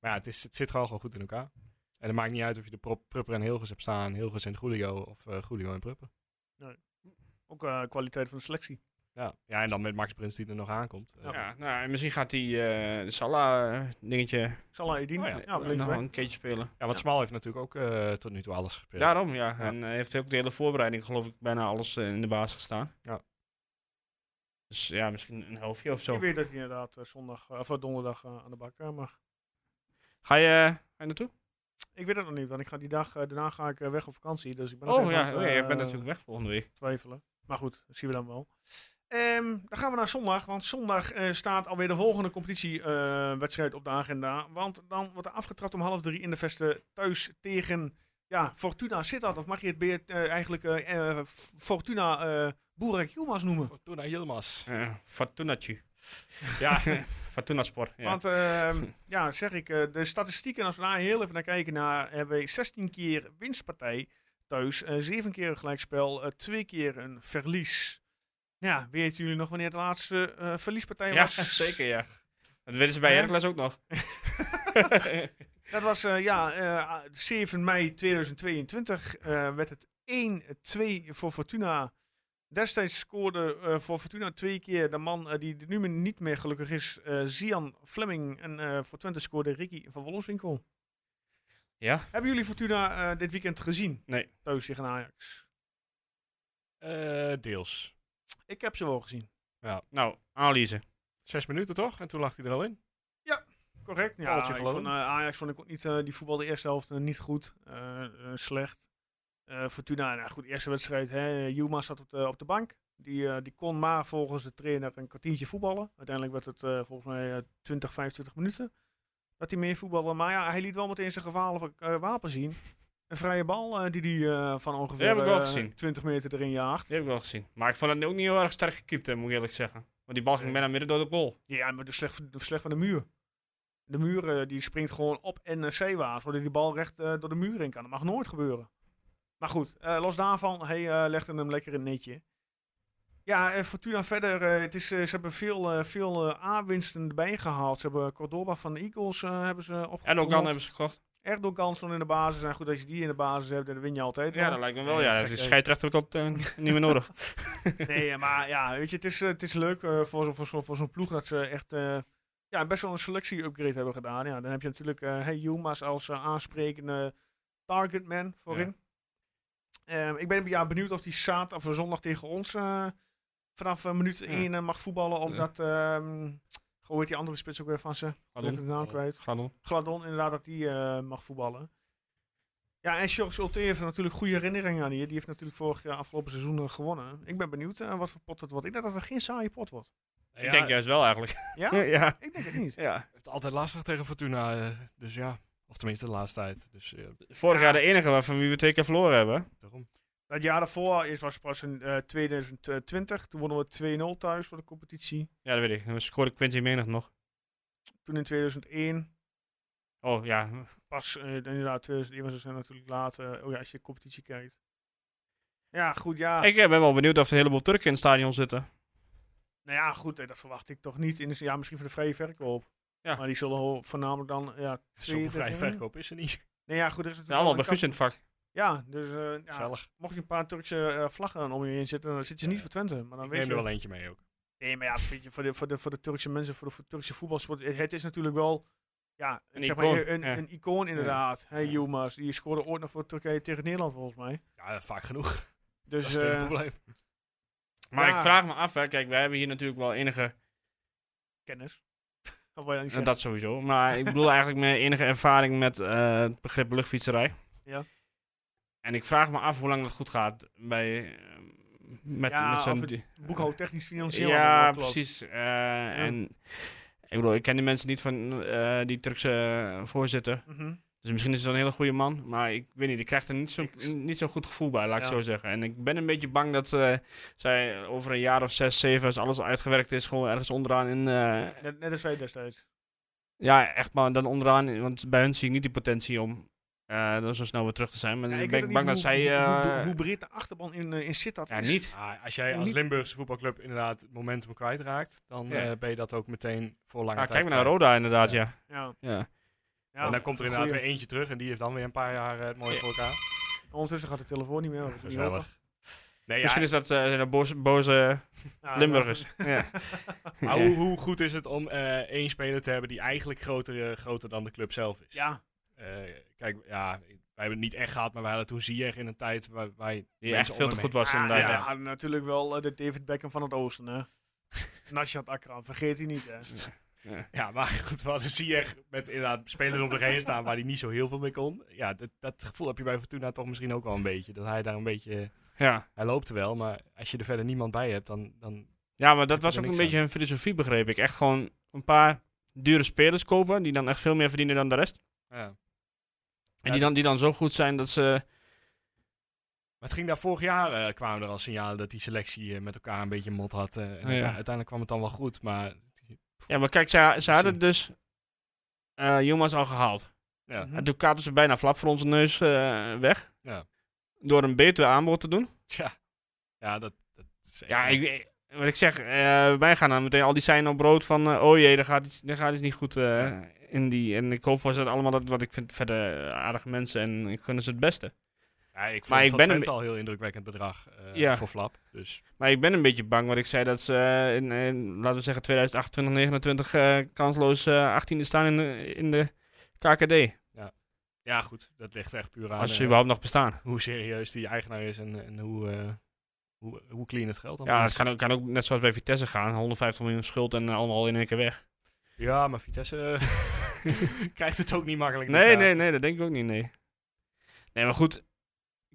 S4: Maar ja, het, is, het zit gewoon, gewoon goed in elkaar. En het maakt niet uit of je de prop, Prupper en Hilgers hebt staan, Hilgers en Julio of eh, Julio en Prupper.
S1: Ook eh, kwaliteit van de selectie.
S4: Ja. ja, en dan met Max Prins die er nog aankomt. Eh,
S5: Ja, nou, en misschien gaat die eh Salah-dingetje
S1: Salah Edin.
S4: Oh ja.
S1: ja,
S5: nog
S1: linksback.
S5: wel Nou, een keertje spelen.
S4: ja, want Smal heeft natuurlijk ook eh, tot nu toe alles gespeeld.
S5: Daarom, ja.
S4: Ja.
S5: En eh, heeft ook de hele voorbereiding, geloof ik, bijna alles eh, in de baas gestaan.
S4: Ja.
S5: Dus ja, misschien een helftje of zo.
S1: Ik weet dat hij inderdaad eh, zondag, eh, of eh, donderdag eh, aan de bak eh, mag.
S5: Ga je, eh, ga je naartoe?
S1: Ik weet het nog niet, want ik ga die dag, eh, daarna ga ik eh, weg op vakantie. Dus ik ben nog
S5: Oh
S1: even aan
S5: ja,
S1: het,
S5: oh, ja, je
S1: eh,
S5: bent natuurlijk weg volgende week.
S1: twijfelen. Maar goed, dat zien we dan wel. Ehm, dan gaan we naar zondag, want zondag eh, staat alweer de volgende competitiewedstrijd op de agenda. Want dan wordt er afgetrapt om half drie in de vesten thuis tegen ja, Fortuna Sittard. Of mag je het beer, eh, eigenlijk eh, eh, F- Fortuna eh Boerak Yilmaz noemen?
S4: Fortuna Yilmaz.
S5: Eh Fortunatje.
S4: Ja,
S5: Fortunaspor. Ja.
S1: Want ehm, ja, zeg ik, eh, de statistieken, als we daar heel even naar kijken, naar, hebben we 16 keer winstpartij thuis, eh 7 keer een gelijkspel, eh 2 keer een verlies. Ja, weten jullie nog wanneer de laatste eh, verliespartij
S5: ja,
S1: was?
S5: zeker ja. Dat weten ze bij
S1: Ja.
S5: Heracles ook nog.
S1: Dat was eh, ja, eh, 7 mei 2022 eh, werd het 1-2 voor Fortuna. Destijds scoorde eh, voor Fortuna twee keer de man eh, die nu maar niet meer gelukkig is, eh Zian Fleming. En eh, voor Twente scoorde Ricky van Wollenswinkel.
S5: Ja.
S1: Hebben jullie Fortuna eh, dit weekend gezien?
S5: Nee.
S1: Thuis tegen Ajax.
S4: Eh, deels.
S1: Ik heb ze wel gezien.
S5: Nou, analyse.
S4: Zes minuten toch? En toen lag hij er al in.
S1: Correct. Ja,
S4: Paaltje,
S1: ik
S4: geloof
S1: vond,
S4: ik.
S1: eh, Ajax vond ik ook niet, eh, die voetbal de eerste helft eh, niet goed. Eh, eh, slecht. Eh, Fortuna, nou goed, eerste wedstrijd. Hè, Juma zat op de, op de bank. Die, eh, die kon maar volgens de trainer een kwartiertje voetballen. Uiteindelijk werd het eh, volgens mij eh, 20, 25 minuten. Dat hij meer voetbalde. Maar ja, hij liet wel meteen zijn gevaarlijke eh, wapen zien. Een vrije bal eh, die hij eh, van ongeveer
S5: heb ik wel
S1: eh,
S5: gezien.
S1: 20 meter erin jaagt.
S5: Die heb ik wel gezien. Maar ik vond het ook niet heel erg sterk gekiept, hè, moet ik eerlijk zeggen. Want die bal ging bijna midden door de goal.
S1: Ja, maar de slecht, de slecht van de muur. De muur eh, die springt gewoon op en eh, zeewaarts, waardoor die bal recht eh, door de muur in kan. Dat mag nooit gebeuren. Maar goed, eh, los daarvan, hij eh, legde hem lekker in het netje. Ja, eh, Fortuna verder, eh, het is, eh, ze hebben veel, eh, veel eh, aanwinsten erbij gehaald. Ze hebben Cordoba van de Eagles eh, hebben ze opgekocht.
S5: En ook dan hebben ze gekocht.
S1: Erdogan stond in de basis. En goed, als je die in de basis hebt, dan win je altijd wel.
S5: Ja, dat lijkt me wel. Ja,
S1: Zeg,
S5: dus
S1: eh,
S5: die scheidsrechter ook dat eh, niet meer nodig.
S1: Nee, eh, maar ja, weet je, het is, eh, het is leuk eh, voor, zo- voor, zo- voor zo'n ploeg dat ze echt eh, ja, best wel een selectie-upgrade hebben gedaan. Ja, dan heb je natuurlijk eh hey Jumas als eh, aansprekende targetman voorin. Ehm, ik ben ja, benieuwd of die zaterdag of zondag tegen ons eh, vanaf eh, minuut 1 mag voetballen. Of
S4: Ja.
S1: dat, ehm hoe heet die andere spits ook weer van ze? Ik ben de naam kwijt.
S5: Gladon.
S1: Gladon inderdaad dat die eh, mag voetballen. Ja, en Sjors Ulte heeft natuurlijk goede herinneringen aan hier. Die heeft natuurlijk vorig jaar afgelopen seizoen eh, gewonnen. Ik ben benieuwd eh, wat voor pot het wordt. Ik denk dat het geen saaie pot wordt.
S5: Ik denk juist wel eigenlijk.
S1: Ja?
S5: ja.
S1: Ik denk het niet.
S5: ja.
S4: Het is altijd lastig tegen Fortuna. eh, dus ja. Of tenminste de laatste tijd. Dus eh,
S5: Vorig jaar de enige waarvan wie we twee keer verloren hebben.
S4: daarom.
S1: Het jaar daarvoor is, was pas in eh, 2020. Toen wonnen we 2-0 thuis voor de competitie.
S5: Ja, dat weet ik. Dan scoorde Quincy Menig nog.
S1: Toen in 2001
S5: Oh ja,
S1: pas, eh, inderdaad 2001 was het zijn natuurlijk later. oh ja, als je de competitie kijkt. Ja, goed, ja.
S5: Ik eh, ben wel benieuwd of er een heleboel Turken in het stadion zitten.
S1: Nou ja, goed, eh, dat verwacht ik toch niet. In de, ja, misschien voor de vrije verkoop.
S5: Ja.
S1: Maar die zullen ho- voornamelijk dan ja,
S4: Zoveel vrije
S1: Tweede,
S4: verkoop is er niet.
S1: Nee, ja, goed, er is
S5: Ja,
S1: natuurlijk
S5: allemaal
S1: wel
S5: bij
S1: een
S5: Guus in het vak.
S1: kant- Ja, dus eh, ja,
S4: Gezellig.
S1: mocht je een paar Turkse eh, vlaggen om je heen zitten, dan zit je niet
S4: Ja.
S1: voor Twente. Maar dan
S4: Ik
S1: weet
S4: neem
S1: je...
S4: er wel eentje mee ook.
S1: Nee, maar ja, vind je, voor, de, voor, de, voor de Turkse mensen, voor de voor Turkse voetbalsport, eh, het is natuurlijk wel ja,
S5: Een
S1: zeg
S5: icoon,
S1: Maar, een,
S5: ja.
S1: een icoon inderdaad. Hey,
S5: Ja.
S1: Yilmaz, die scoorde ooit nog voor Turkije tegen Nederland volgens mij.
S4: Ja, vaak genoeg.
S1: Dus,
S4: dat is het hele
S1: eh,
S4: probleem.
S5: Maar
S1: Ja.
S5: ik vraag me af, hè. kijk, wij hebben hier natuurlijk wel enige,
S1: kennis. Of wat je niet
S5: en
S1: zegt.
S5: dat sowieso, maar ik bedoel eigenlijk mijn enige ervaring met eh, het begrip luchtfietserij.
S1: Ja.
S5: En ik vraag me af hoe lang dat goed gaat bij, eh, met,
S1: Ja,
S5: met
S1: of
S5: zo'n...
S1: het
S5: die-
S1: Boekhoudtechnisch, financieel. allemaal
S5: ja,
S1: wel klopt.
S5: precies. eh, En ik bedoel, ik ken die mensen niet van eh, die Turkse eh, voorzitter.
S1: Mhm.
S5: Dus misschien is het een hele goede man, maar ik weet niet, ik krijg er niet zo'n
S1: Ik-
S5: niet zo goed gevoel bij, laat ik
S1: Ja.
S5: zo zeggen. En ik ben een beetje bang dat eh, zij over een jaar of zes, zeven, als alles uitgewerkt is, gewoon ergens onderaan in... eh,
S1: Net, net als wij destijds.
S5: ja, echt maar dan onderaan, in- want bij hun zie ik niet die potentie om eh, dan zo snel weer terug te zijn. Maar
S1: Ja,
S5: ik
S1: weet
S5: ben ik
S1: ook
S5: bang
S1: niet
S5: dat zij...
S1: hoe, hoe, hoe,
S5: eh,
S1: hoe breed de achterban in, eh, in Sittard
S5: ja,
S1: is.
S5: niet.
S4: Ah, als jij
S1: Ja,
S4: als
S1: niet-
S4: Limburgse voetbalclub inderdaad het momentum kwijtraakt, dan
S5: Ja.
S4: eh, ben je dat ook meteen voor lange
S5: Ah,
S4: tijd
S5: kijk maar naar
S4: kwijt.
S5: Roda inderdaad, ja.
S1: Ja.
S5: ja.
S1: Ja,
S4: en dan komt er inderdaad
S1: goeie.
S4: weer eentje terug en die heeft dan weer een paar jaar eh, het mooie
S5: Ja.
S4: voor elkaar.
S1: Ondertussen gaat de telefoon niet meer. dat is niet
S4: Gezellig.
S1: handig.
S4: Nee, ja,
S5: Oh, Misschien is dat eh, een boze, boze
S1: Ja,
S5: Limburgers. Ja.
S4: maar hoe, hoe goed is het om eh, één speler te hebben die eigenlijk groter, eh, groter dan de club zelf is?
S1: Ja,
S4: Eh, kijk, ja, wij hebben het niet echt gehad, maar wij hadden toen Ziyech in een tijd waar, waar je
S5: Die
S4: mensen
S5: echt veel
S4: om
S5: te
S4: hem
S5: goed
S4: heen-
S5: was
S1: Ah,
S5: inderdaad.
S1: ja,
S5: Ja.
S1: ja, natuurlijk wel eh, de David Beckham van het Oosten, hè. Nashat Akram, vergeet hij niet, hè.
S4: Ja, maar goed, we hadden Ziyech met inderdaad spelers om zich heen staan waar hij niet zo heel veel mee kon. Ja, dat, dat gevoel heb je bij Fortuna toch misschien ook wel een beetje. Dat hij daar een beetje...
S5: Ja.
S4: Hij loopt er wel, maar als je er verder niemand bij hebt, dan... dan
S5: ja, maar dat
S4: er
S5: was ook een
S4: niks
S5: beetje hun filosofie, begreep ik. Echt gewoon een paar dure spelers kopen, die dan echt veel meer verdienen dan de rest.
S4: ja.
S5: En die, dan, die dan zo goed zijn dat ze...
S4: Maar het ging daar vorig jaar, eh, kwamen er al signalen dat die selectie eh, met elkaar een beetje mot had. eh, en
S5: ja.
S4: uite- uiteindelijk kwam het dan wel goed, maar...
S5: Ja, maar kijk, ze, ze hadden
S4: Zien.
S5: dus eh Jongens al gehaald.
S4: Ja.
S1: Mhm.
S5: En toen kaarten ze bijna flap voor onze neus eh, weg.
S4: Ja.
S5: Door een beter aanbod te doen.
S4: Tja. Ja, dat, dat is echt-
S5: Ja, ik, eh, wat ik zeg, eh, wij gaan dan meteen al die zijn op brood van... eh, oh jee, daar gaat iets, daar gaat iets niet goed eh, in die... En ik hoop voor ze allemaal dat... wat ik vind verder eh, aardige mensen en ik gun ze het beste.
S4: Ja, ik vond
S5: maar ik
S4: van
S5: ben
S4: Twente
S5: een
S4: al heel indrukwekkend bedrag eh,
S5: Ja.
S4: voor Flap. Dus
S5: Maar ik ben een beetje bang wat ik zei dat ze eh, in, in, laten we zeggen, 2028,
S4: Ah,
S5: 29 eh kansloos eh 18e staan in, de- in de KKD.
S4: Ja, goed. Dat ligt echt puur aan
S5: als ze
S4: eh,
S5: überhaupt nog bestaan.
S4: hoe serieus die eigenaar is en, en hoe, eh, hoe, hoe clean het geld dan is.
S5: Ja, het kan ook, kan ook net zoals bij Vitesse gaan. 150 miljoen schuld en eh, allemaal in één keer weg.
S4: Ja, maar Vitesse eh, krijgt het ook niet makkelijk.
S5: Nee, nee, nee, dat denk ik ook niet, nee. Nee, maar goed.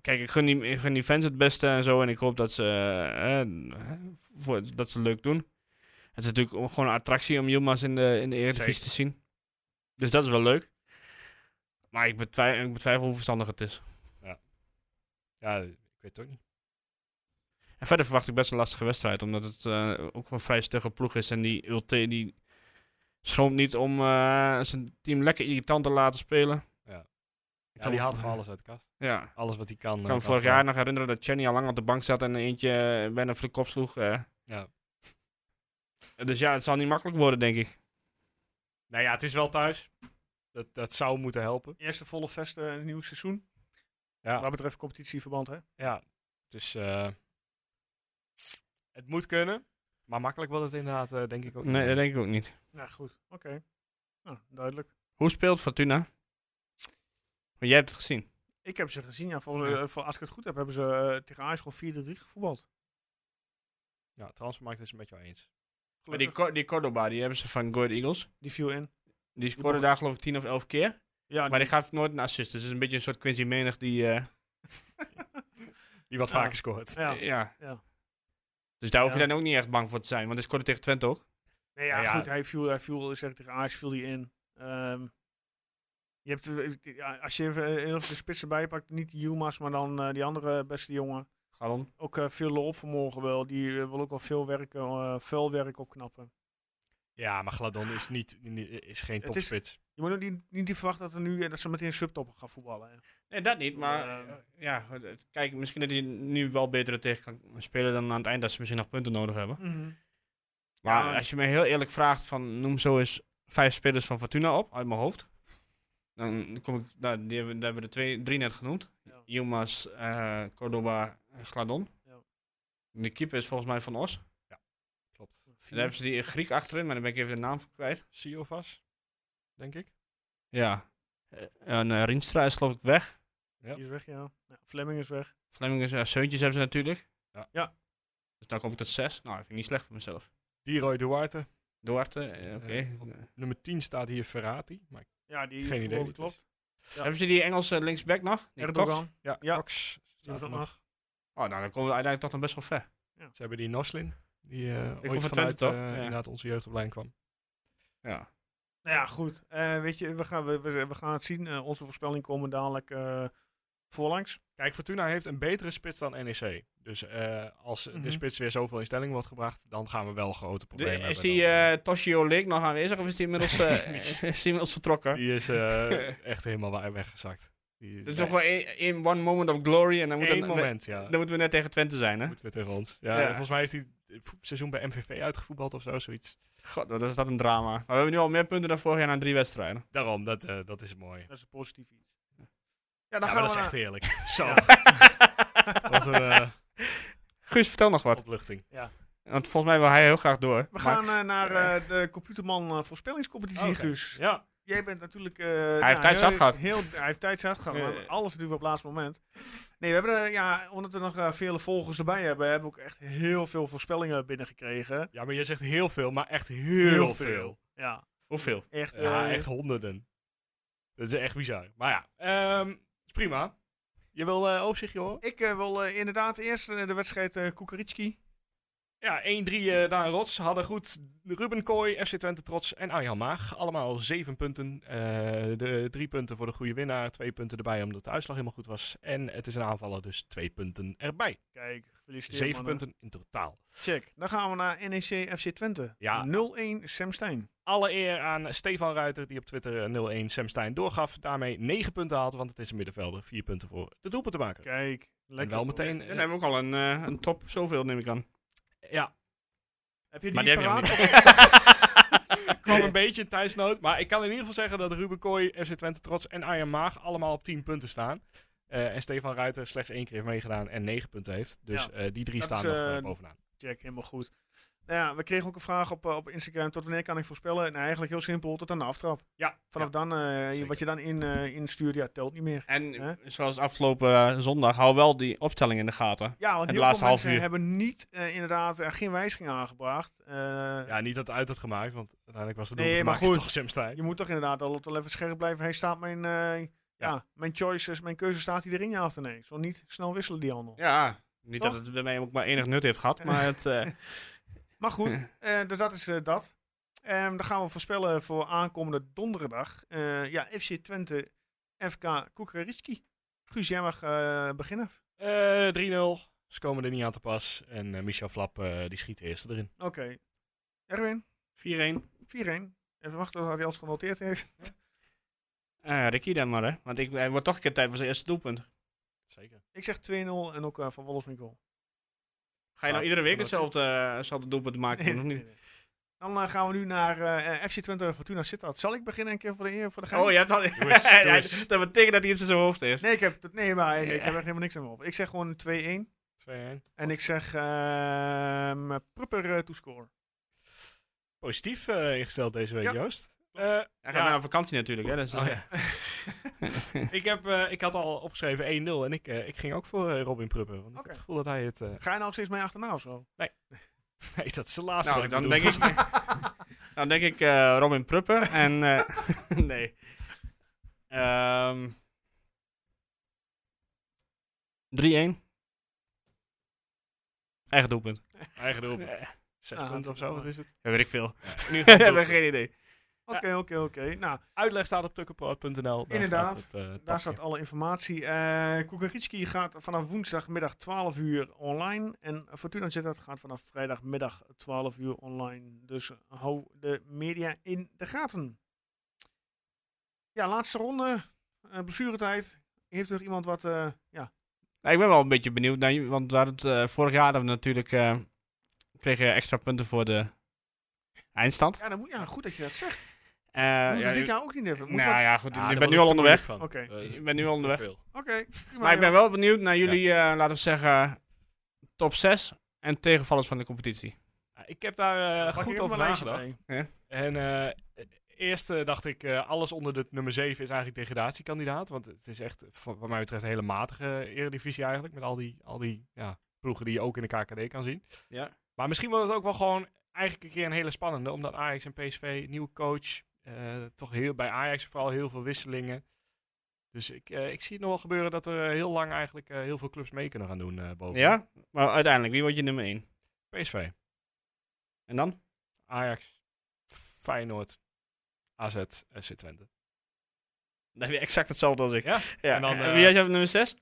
S5: Kijk, ik gun die, ik gun die fans het beste en zo. En ik hoop dat ze, eh, eh, voor, dat ze het leuk doen. Het is natuurlijk ook gewoon een attractie om Yilmaz in de, in de Eredivisie
S4: Zeker.
S5: te zien. Dus dat is wel leuk. Maar ik betwijfel, ik betwijfel hoe verstandig het is.
S4: Ja, ik weet het ook niet.
S5: En verder verwacht ik best een lastige wedstrijd. Omdat het eh, ook een vrij stugge ploeg is. En die Ulte die schroomt niet om eh, zijn team lekker irritant te laten spelen.
S4: Ja, die
S5: kan me
S4: haalt
S5: voor-
S4: gewoon alles uit de kast.
S5: Ja.
S4: Alles wat hij kan.
S5: Ik
S4: eh,
S5: kan me
S4: kan
S5: vorig
S4: hij.
S5: jaar nog herinneren dat Chenny al lang op de bank zat en eentje eh, bijna voor de kop sloeg. eh.
S4: Ja.
S5: Dus ja, het zal niet makkelijk worden, denk ik.
S4: Nou ja, het is wel thuis. Dat, dat zou moeten helpen.
S1: Eerste volle vest eh, in het nieuwe seizoen.
S4: Ja.
S1: Wat betreft competitieverband, hè?
S4: ja. Dus eh, het moet kunnen. Maar makkelijk wordt het inderdaad, eh, denk ik ook
S5: Nee, dat
S4: niet.
S5: denk ik ook niet.
S1: Ja, goed. Oké. Nou, duidelijk.
S5: Hoe speelt Fortuna? Want jij hebt het gezien.
S1: Ik heb ze gezien. Ja, volgens,
S4: Ja.
S1: eh, vol- als ik het goed heb, hebben ze eh, tegen Ajax gewoon 4-3 gevoetbald.
S4: Ja, transfermarkt is het met jou eens.
S5: Maar die,
S1: Gelukkig.
S5: Cor- die Cordoba, die hebben ze van Good Eagles.
S1: Die viel in.
S5: Die scoorde daar geloof ik 10 of 11 keer.
S1: Ja,
S5: Maar die gaf nooit een assist. Dus het is een beetje een soort Quincy Menig die... eh,
S4: Die wat
S1: Ja.
S4: vaker scoort.
S1: ja.
S5: ja.
S1: Ja.
S5: Dus daar hoef je
S1: Ja.
S5: dan ook niet echt bang voor te zijn. Want hij scoorde tegen Twente ook.
S1: Nee, ja,
S4: Nou ja.
S1: goed. Hij viel, hij viel zeg, ik, tegen Ajax viel die in. Ehm, je hebt, eh, ja, als je even eh, heel veel de spitsen bijpakt, niet die Jumas, maar dan eh, die andere beste jongen.
S5: Galon.
S1: Ook eh, veel loopvermogen wel. Die eh, wil ook wel veel werk, eh, veel werk opknappen.
S4: Ja, maar Gladon is, niet, Ah. is geen
S1: Het is-
S4: topspits.
S1: Je moet ook niet, niet die verwachten dat, er nu, eh, dat ze meteen subtoppen gaan voetballen. Hè.
S5: Nee, dat niet. Maar
S1: Eh,
S5: eh, ja, het- kijk, misschien dat hij nu wel betere tegen kan spelen dan aan het eind. Dat ze misschien nog punten nodig hebben. Maar
S1: Ja.
S5: als je me heel eerlijk vraagt van noem zo eens vijf spelers van Fortuna op uit mijn hoofd. Dan kom ik, nou, die hebben, daar hebben we er twee, drie net genoemd.
S1: Ja.
S5: Yilmaz, eh, Cordoba en Gladon.
S1: Ja.
S5: De keeper is volgens mij van Os. En
S4: Klopt.
S5: dan hebben ze die Griek achterin, maar dan ben ik even de naam van kwijt.
S4: Siovas, denk ik.
S5: Ja. Eh, En eh, Rienstra is geloof ik weg.
S4: Ja.
S1: Die is weg, ja. ja. Flemming is weg.
S5: Fleming is, ja, Seuntjes hebben ze natuurlijk.
S4: Ja.
S1: Ja.
S5: Dus dan kom ik tot zes. Nou, dat vind ik niet slecht voor mezelf.
S4: Leroy Duarte.
S5: Duarte, eh, oké.
S4: Eh, op- Nummer 10 staat hier Ferrati. Maar
S1: Ja, die
S4: Geen idee
S1: voetbal,
S4: wie het
S1: klopt.
S5: Hebben ze die Engelse linksback nog? Die Cox?
S1: Erdogan.
S4: ja,
S1: Ja.
S4: Cox staat
S1: dat
S4: er
S1: nog.
S4: nog.
S5: Oh, nou, dan komen we uiteindelijk toch nog best wel ver.
S4: Ze hebben die Noslin. Die eh
S5: kom
S4: ooit
S5: van
S4: vanuit
S5: Twente, toch?
S4: eh,
S5: Ja.
S4: inderdaad onze jeugdopleiding kwam.
S5: Ja.
S1: Nou ja, goed. Eh, weet je, we gaan, we, we, we gaan het zien. Eh, onze voorspelling komen dadelijk eh, voorlangs.
S4: Kijk, Fortuna heeft een betere spits dan NEC. Dus eh, als
S1: Mhm.
S4: de spits weer zoveel in stelling wordt gebracht, dan gaan we wel grote problemen
S5: is
S4: hebben.
S5: die
S4: dan.
S5: eh, Toshio Link nog aanwezig of is die inmiddels, eh, is die inmiddels vertrokken?
S4: die is eh, echt helemaal wa- weggezakt. Die
S5: Dat is toch wel één één one moment of glory en dan, moet
S4: Eén
S5: dan-
S4: moment, ja.
S5: dan moeten we net tegen Twente zijn, hè?
S4: Moet weer tegen ons. Ja,
S5: Ja.
S4: Volgens mij heeft hij het vo- seizoen bij MVV uitgevoetbald of zo, zoiets.
S5: God, wat is dat een drama. Maar we hebben nu al meer punten dan vorig jaar na drie wedstrijden.
S4: Daarom, dat, eh, dat is mooi.
S1: Dat is een positief iets. Ja, dan
S4: Ja, maar
S1: gaan
S4: dat
S1: we
S4: is
S1: naar-
S4: echt heerlijk. Zo. Wat een eh,
S5: Guus, vertel nog wat.
S4: opluchting.
S5: Want volgens mij wil hij heel graag door.
S1: We
S5: Maar
S1: gaan eh, naar eh, de Computerman eh, voorspellingscompetitie,
S4: Oh, Oké.
S1: Guus.
S4: Ja,
S1: Jij bent natuurlijk... eh,
S5: heeft tijd zat
S1: heel-
S5: gehad.
S1: Heel, hij heeft tijd zat gehad. maar
S5: Eh.
S1: Alles natuurlijk op het laatste moment. Nee, we hebben er, ja, omdat we nog eh, vele volgers erbij hebben, hebben we ook echt heel veel voorspellingen binnengekregen.
S4: ja, maar je zegt heel veel, maar echt heel, veel.
S1: Ja,
S5: Hoeveel?
S1: echt.
S4: Ja,
S1: eh,
S4: echt honderden. Dat is echt bizar. Maar ja, ehm, is prima. Je wil eh overzichtje horen?
S1: Ik eh, wil eh, inderdaad eerst eh, de wedstrijd eh Kukuritski.
S4: Ja, 1-3 eh daar in Rots. Hadden goed Ruben Kooi, FC Twente Trots en Arjan Maag. Allemaal zeven punten. Eh, de drie punten voor de goede winnaar. Twee punten erbij omdat de uitslag helemaal goed was. En het is een aanvaller, dus twee punten erbij.
S1: Kijk, gefeliciteerd
S4: Zeven
S1: mannen.
S4: punten in totaal.
S1: Check. Dan gaan we naar E NEC FC Twente.
S4: Ja.
S1: 0-1 Sam Stein.
S4: Alle eer aan Stefan Ruiter, die op Twitter eh, 0-1 Sam Stein doorgaf. Daarmee 9 punten haalt, want het is een middenvelder. 4 punten voor de doelpunt te maken.
S1: Kijk,
S4: en
S1: lekker.
S4: wel
S1: hoor.
S4: meteen.
S5: Dan
S4: eh,
S5: hebben we ook al een, eh, een top zoveel, neem ik aan.
S4: ja,
S1: Heb je die,
S5: Maar die heb je
S1: paraat?
S5: nog
S4: kwam een beetje een tijdsnood. Maar ik kan in ieder geval zeggen dat Ruben Kooi, FC Twente Trots en Arjen Maag allemaal op 10 punten staan. Eh, en Stefan Ruiter slechts één keer heeft meegedaan en 9 punten heeft. Dus
S1: Ja.
S4: eh, die drie
S1: Dat
S4: staan
S1: is,
S4: nog eh,
S1: eh,
S4: bovenaan.
S1: Check, helemaal goed. Nou ja, we kregen ook een vraag op, eh, op Instagram. Tot wanneer kan ik voorspellen? Nou, eigenlijk heel simpel. Tot aan de aftrap.
S4: Ja,
S1: Vanaf dan, eh,
S5: zeker.
S1: wat je dan in, eh, instuurt, ja, telt niet meer.
S5: En
S1: Hè?
S5: zoals afgelopen eh, zondag, hou wel die opstelling in de gaten.
S1: Ja, want
S5: de
S1: heel veel
S5: laatste half
S1: mensen
S5: uur.
S1: hebben niet, eh, inderdaad, eh, geen wijziging aangebracht. Eh,
S4: Ja, niet dat het uit had gemaakt, want uiteindelijk was de
S1: Nee,
S4: doel
S1: maar goed.
S4: toch Sam Stein.
S1: Je moet toch inderdaad al, al even scherp blijven. Hij staat mijn, eh, ja. mijn choices, mijn keuze staat hij erin, ja of nee. Zo niet snel wisselen die handel.
S5: Ja, niet
S1: Toch?
S5: dat het bij mij ook maar enig nut heeft gehad, maar het... eh,
S1: Maar goed, eh, dus dat is eh, dat. Ehm dan gaan we voorspellen voor aankomende donderdag. Eh, ja, FC Twente, FK Kukaritski. Guus, jij mag eh, beginnen.
S4: Eh 3-0. Ze komen er niet aan te pas. En eh, Michel Flap eh, die schiet de eerste erin.
S1: Oké. Erwin,
S5: 4-1.
S1: 4-1. Even wachten tot hij alles genoteerd heeft.
S5: Eh Ricky dan maar, hè. Want ik, hij wordt toch een keer tijd voor zijn eerste doelpunt.
S4: Zeker.
S1: Ik zeg 2-0 en ook eh, van Wolfs Nicole.
S5: Ga je nou
S4: Staat-
S5: iedere week
S4: staat-
S5: hetzelfde, eh, hetzelfde doelpunt maken? of niet?
S1: Dan eh, gaan we nu naar eh, eh, FC Twente Fortuna Sittard. Zal ik beginnen een keer voor de eer? Voor de gein?
S5: Oh, je hebt al...
S4: Doe eens, doe
S5: Ja,
S4: eens.
S5: dat betekent dat hij iets in zijn hoofd heeft.
S1: Nee, ik heb, het- nee, maar, nee, ik heb echt helemaal niks aan mijn hoofd. Ik zeg gewoon 2-1.
S4: 2-1.
S1: En ik zeg ehm Prupper eh, to score.
S4: Positief eh, ingesteld deze week,
S1: Ja.
S4: Joost. Eh,
S5: Hij gaat
S4: Ja.
S5: naar vakantie natuurlijk, hè. Dus,
S4: oh ja. ik, heb, eh, ik had al opgeschreven 1-0 en ik, eh, ik ging ook voor eh, Robin Prupper. Want ik
S1: Oké.
S4: heb het gevoel dat hij het... eh,
S1: Ga je nou steeds mee achterna of zo?
S4: nee, dat is de laatste
S5: Nou,
S4: wat
S5: dan
S4: moet
S5: denk
S4: doen.
S5: ik... Dan denk ik eh, Robin Prupper en... eh, nee. Ehm 3-1. Eigen doelpunt.
S4: Eigen doelpunt. Zes
S1: Ah,
S4: punten
S1: dat
S4: of zo,
S1: wel.
S4: wat is het?
S5: Dat weet ik veel.
S4: Nu
S5: Ik heb geen idee.
S1: Oké, oké, oké. Nou,
S4: Uitleg staat op tukkenpoort.nl.
S1: Inderdaad.
S4: Staat het, eh,
S1: daar
S4: tapje.
S1: staat alle informatie. Eh Kukaritski gaat vanaf woensdagmiddag 12 uur online. En Fortuna Sittard gaat vanaf vrijdagmiddag 12 uur online. Dus hou de media in de gaten. Ja, laatste ronde. Eh blessuretijd. Heeft er iemand wat... eh, ja.
S5: Nou, ik ben wel een beetje benieuwd naar jullie, want we hadden het, eh, vorig jaar hadden we natuurlijk, eh, kregen we extra punten voor de eindstand.
S1: Ja, dan moet, ja, goed dat je dat zegt.
S5: Eh,
S1: Moet
S5: ja,
S1: dit jaar ook niet even. Moet
S5: nou
S1: dat-
S5: ja, goed,
S4: Ah,
S5: ik
S4: daar
S5: ben
S4: wordt
S5: nu
S4: het
S5: al
S4: te
S5: onderweg.
S4: moeilijk van.
S1: Oké.
S4: Eh,
S5: Ik ben nu al
S4: te
S5: onderweg.
S4: veel.
S1: Oké. prima,
S5: Maar ik ben
S1: joh.
S5: wel benieuwd naar jullie, eh, laten we zeggen, top 6 en tegenvallers van de competitie.
S4: Ah, Ik heb daar eh,
S1: Pak
S4: goed
S1: hier
S4: over
S1: even een lijstje
S4: nagedacht.
S1: bij.
S4: En eh, eerst eh, dacht ik, eh, alles onder de nummer 7 is eigenlijk degradatiekandidaat. Want het is echt, voor- wat mij betreft, een hele matige eredivisie eigenlijk. Met al die, al die ja, ploegen die je ook in de KKD kan zien.
S5: Ja.
S4: Maar misschien wordt het ook wel gewoon eigenlijk een keer een hele spannende. Omdat Ajax en PSV, nieuwe coach. eh, toch heel, bij Ajax vooral heel veel wisselingen. Dus ik, eh, ik zie het nog wel gebeuren dat er eh, heel lang eigenlijk eh, heel veel clubs mee kunnen gaan doen eh boven.
S5: Ja? Maar uiteindelijk, wie wordt je nummer 1?
S4: PSV,
S5: En dan?
S4: Ajax, Feyenoord, AZ, SC Twente.
S5: Dan heb je exact hetzelfde als ik.
S4: Ja?
S5: Ja.
S4: En dan,
S5: en
S4: eh,
S5: wie had je op nummer 6?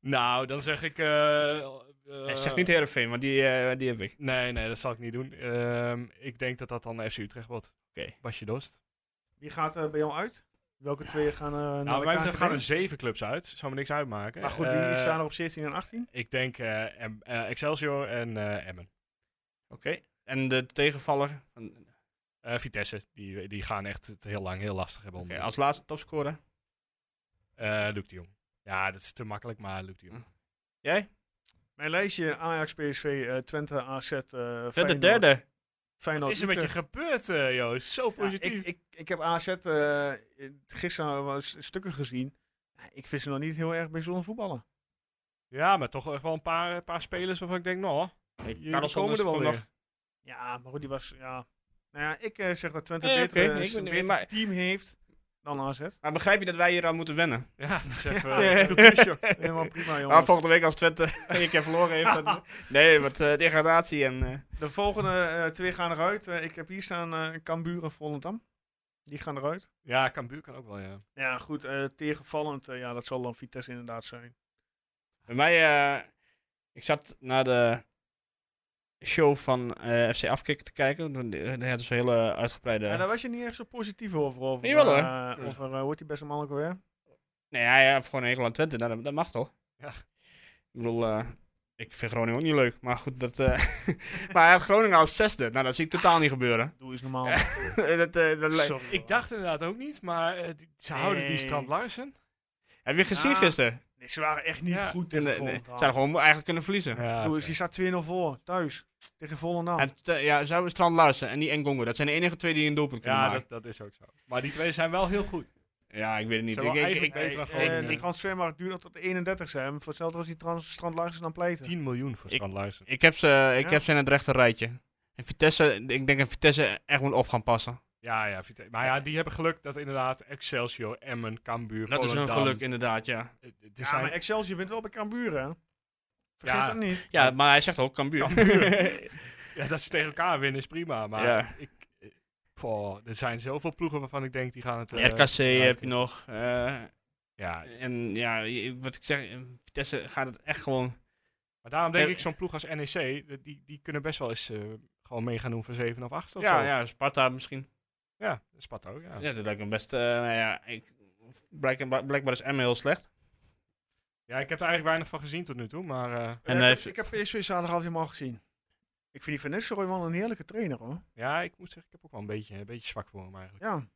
S4: Nou, dan zeg ik... eh, eh,
S5: ik zeg niet Heerenveen, want die, eh, die heb ik.
S4: Nee, nee, dat zal ik niet doen. Ehm, ik denk dat dat dan FC Utrecht wordt.
S5: Oké.
S4: Basje Dost.
S1: Wie gaat er bij jou uit? Welke twee gaan eh naar
S4: Nou, wij
S1: elkaar
S4: betreft gaan er
S1: gereden?
S4: zeven clubs uit. Zou me niks uitmaken.
S1: Maar goed,
S4: Eh,
S1: wie staan er op 17 en 18?
S4: Ik denk eh, em- eh, Excelsior en eh, Emmen.
S5: Oké. En de tegenvaller? Oké,
S4: Eh, Vitesse, die, die gaan echt het heel lang heel lastig hebben. onder.
S5: als laatste topscorer.
S4: Eh, Luc de Jong. Ja, dat is te makkelijk, maar Luc de Jong.
S5: Jij?
S1: Mijn lijstje Ajax, PSV, eh, Twente, AZ, eh
S5: De, de
S1: Feyenoord,
S5: derde. Nou,
S1: Feyenoord,
S4: Wat is er met je
S1: Utrecht.
S4: gebeurd, eh, Joost? Zo
S1: Ja,
S4: positief.
S1: ik, ik, ik heb AZ eh, gisteren wel eens stukken gezien. Ja, Ik vind ze nog niet heel erg bijzonder voetballen.
S4: Ja, maar toch echt wel een paar, een paar spelers waarvan ik denk, nou, jullie komen er wel weer.
S1: Ja, maar goed, die was... Ja. Nou ja, ik eh, zeg dat Twente
S5: Nee,
S1: beter,
S5: oké,
S1: eh,
S5: ik
S1: een
S5: ben-
S1: beter
S5: maar-
S1: team heeft dan AZ.
S5: Maar begrijp je dat wij hier aan moeten wennen?
S4: Ja, dat is even
S1: Ja.
S4: een cultuurshock.
S1: Helemaal prima, jongens.
S5: Maar volgende week als Twente een keer verloren heeft. dat- nee, want eh, degradatie en... eh,
S1: De volgende eh, twee gaan eruit. Eh, ik heb hier staan eh Cambuur en Volendam. Die gaan eruit.
S4: Ja, Cambuur kan ook wel, ja.
S1: Ja, goed. eh, tegenvallend, eh, ja, dat zal dan Vitesse inderdaad zijn.
S5: Bij mij, eh, ik zat naar de show van eh, FC Afkikken te kijken. Dan eh, dan hadden ze een hele uitgebreide...
S1: Ja, daar was je niet echt zo positief over. over
S5: Jawel, hoor.
S1: eh, over, eh, hoe heet die beste man ook alweer?
S5: Nee, hij heeft gewoon een hekel aan Twente. Nou, dat, dat mag toch?
S4: Ja.
S5: Ik bedoel, eh, ik vind Groningen ook niet leuk. Maar goed, dat... eh, maar hij heeft Groningen als zesde. Nou, dat zie ik totaal niet gebeuren.
S1: Doe eens normaal.
S5: dat, eh, dat lijkt-
S1: Sorry, hoor.
S4: Ik dacht inderdaad ook niet, maar eh, die- ze houden die
S1: Nee.
S4: Strand Larsen.
S5: Heb je gezien
S1: Ja.
S5: gisteren?
S1: Nee, ze waren echt niet
S5: Ja,
S1: goed
S5: Nee,
S1: tegen
S5: nee. Ze
S1: Volendam.
S5: hadden gewoon eigenlijk kunnen verliezen.
S4: Ja,
S1: Doe eens, je staat 2-0 voor, thuis, tegen Volendam.
S5: En te- ja, ze hebben Strand Larsen en die Engongo. Dat zijn de enige twee die een doelpunt kunnen maken.
S4: dat, dat is ook zo. Maar die twee zijn wel heel goed.
S5: Ja, ik weet het niet.
S4: Ze hebben
S5: Ik, ik,
S4: eigenlijk
S5: ik,
S1: Nee,
S4: beter dan
S1: eh,
S4: Groningen.
S1: die transfermarkt duurt nog tot de 31 zijn. Voor hetzelfde was die trans Strand Larsen dan pleiten.
S4: 10 miljoen voor
S5: Ik-
S4: Strand Larsen.
S5: ik heb ze, ik
S1: Ja.
S5: heb ze in het rechter rijtje. En Vitesse, ik denk dat Vitesse echt moet op gaan passen.
S4: Ja, ja. Vite- Maar ja, die hebben geluk dat inderdaad Excelsior, Emmen, Cambuur,
S5: Dat is hun
S4: Volendam,
S5: geluk inderdaad, ja.
S4: eh, Het
S1: Ja,
S4: is zijn-
S1: maar Excelsior wint wel bij Cambuur, hè? Vergeet
S4: Ja.
S1: dat niet.
S5: Ja, maar hij zegt ook Cambuur.
S4: ja, dat ze tegen elkaar winnen is prima. Maar
S5: Ja.
S4: ik, eh, poh, er zijn zoveel ploegen waarvan ik denk die gaan het... eh,
S5: RKC heb je
S4: uitkijken.
S5: nog. eh,
S4: Ja,
S5: en ja, je- wat ik zeg, eh, Vitesse gaat het echt gewoon...
S4: maar daarom denk
S5: Eh,
S4: ik zo'n ploeg als NEC, eh, die, die kunnen best wel eens eh, gewoon mee gaan doen voor 7 of 8 of
S5: Ja,
S4: zo.
S5: ja, Sparta misschien.
S4: ja, Sparta ook, ja.
S5: Ja, dat lijkt me best... eh, nou ja, ik, blijkbaar, blijkbaar is Emmen heel slecht.
S4: Ja, ik heb er eigenlijk weinig van gezien tot nu toe, maar... eh,
S1: En
S5: En
S1: ik,
S5: heeft-
S1: heb, ik heb PSV zaterdag helemaal gezien. Ik vind die Van Nistelrooy wel een heerlijke trainer, hoor.
S4: ja, ik moet zeggen, ik heb ook wel een beetje, een beetje zwak voor hem eigenlijk.
S1: Ja.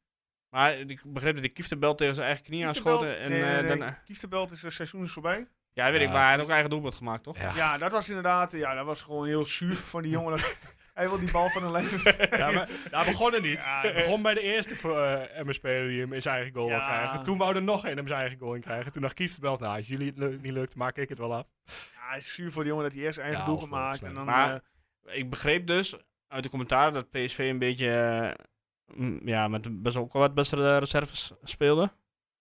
S5: Maar ik begreep dat hij Kieftenbel tegen zijn eigen knie aanschoten. En,
S1: nee, nee,
S5: eh,
S1: nee.
S5: daarna-
S1: Kieftenbelt is het seizoen is voorbij.
S5: ja, weet
S4: Ja,
S5: ik, maar hij
S4: het-
S5: had ook eigen doelpunt gemaakt, toch?
S1: Ja. dat was inderdaad... Ja, dat was gewoon heel zuur van die jongen. dat- hij wil die bal van een leven.
S4: Ja, maar daar begon het niet. het begon bij de eerste voor, eh MS-speler die hem in zijn eigen goal wil
S1: Ja.
S4: krijgen. Toen wou er nog een hem zijn eigen goal in krijgen. Toen dacht Kieftenbelt, nou, als jullie het lu- niet lukt, maak ik het wel af.
S1: Ja, het is zuur voor die jongen dat hij eerst eigen
S4: Ja,
S1: doelpunt
S4: ongelooflijk
S1: maakt. En
S4: slecht.
S1: dan,
S5: Maar-
S1: eh,
S5: Ik begreep dus uit de commentaar dat PSV een beetje... eh, mm, ja, met best ook wel wat beste reserves speelde.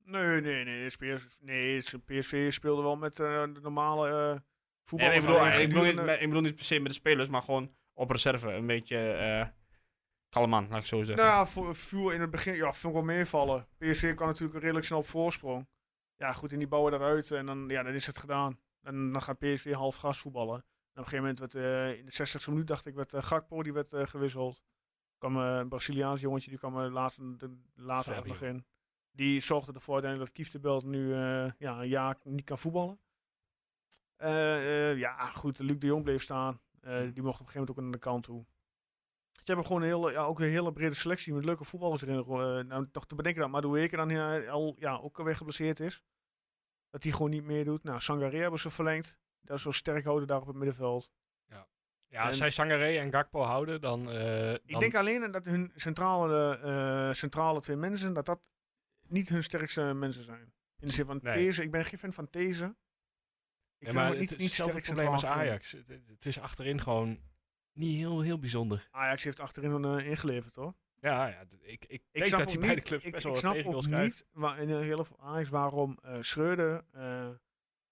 S1: nee, nee, nee. PSV, nee, PSV speelde wel met eh, de normale eh voetbal.
S5: Nee, ik, bedoel, ik, bedoel niet,
S1: Gedurende-
S5: met- ik bedoel niet per se met de spelers, maar gewoon op reserve. Een beetje eh kalm aan, laat ik zo zeggen.
S1: Nou ja, vo- viel in het begin, ja, vond ik wel meevallen. PSV kwam natuurlijk redelijk snel op voorsprong. Ja, goed, en die bouwen eruit en dan, ja, dan is het gedaan. En dan gaat PSV half gas voetballen. En op een gegeven moment werd, eh, in de 60ste minuut, dacht ik, werd eh, Gakpo, die werd eh, gewisseld. Er kwam eh, een Braziliaans jongetje, die kwam eh, later, de, later echt
S4: Savio.
S1: nog in. Die zorgde ervoor uiteindelijk dat Kieftenbelt nu eh, ja, een jaar niet kan voetballen. Eh, eh, ja, goed, Luc de Jong bleef staan. Eh, die mocht op een gegeven moment ook aan de kant toe. Ze hebben gewoon een hele, ja, ook een hele brede selectie met leuke voetballers erin. Eh, nou, toch te bedenken dat Madueke dan eh, al, ja, ook alweer geblesseerd is. Dat hij gewoon niet meer doet. Nou, Sangare hebben ze verlengd. Dat is zo sterk houden daar op het middenveld.
S4: Ja,
S1: En-
S4: als zij Sangaré en Gakpo houden, dan... eh,
S1: Ik
S4: dan-
S1: denk alleen dat hun centrale, eh, centrale twee mensen, dat dat niet hun sterkste mensen zijn. In de zin van
S4: Nee.
S1: These, ik ben geen fan van These. Ik
S4: Ja,
S1: vind
S4: maar
S1: hem
S4: het
S1: ook
S4: is hetzelfde
S1: sterk
S4: probleem als
S1: centraal achterin.
S4: Ajax. Het, het- het is achterin gewoon niet heel, heel bijzonder.
S1: Ajax heeft achterin eh, ingeleverd, hoor.
S4: Ja, ja d- ik, ik
S1: Ik
S4: denk
S1: snap
S4: dat hij
S1: ook
S4: bij de
S1: niet-
S4: clubs
S1: ik-
S4: best wel
S1: ik
S4: wat
S1: snap
S4: tegenwild
S1: ook
S4: krijgt.
S1: niet waar, in de hele Ajax waarom eh Schreuder, eh,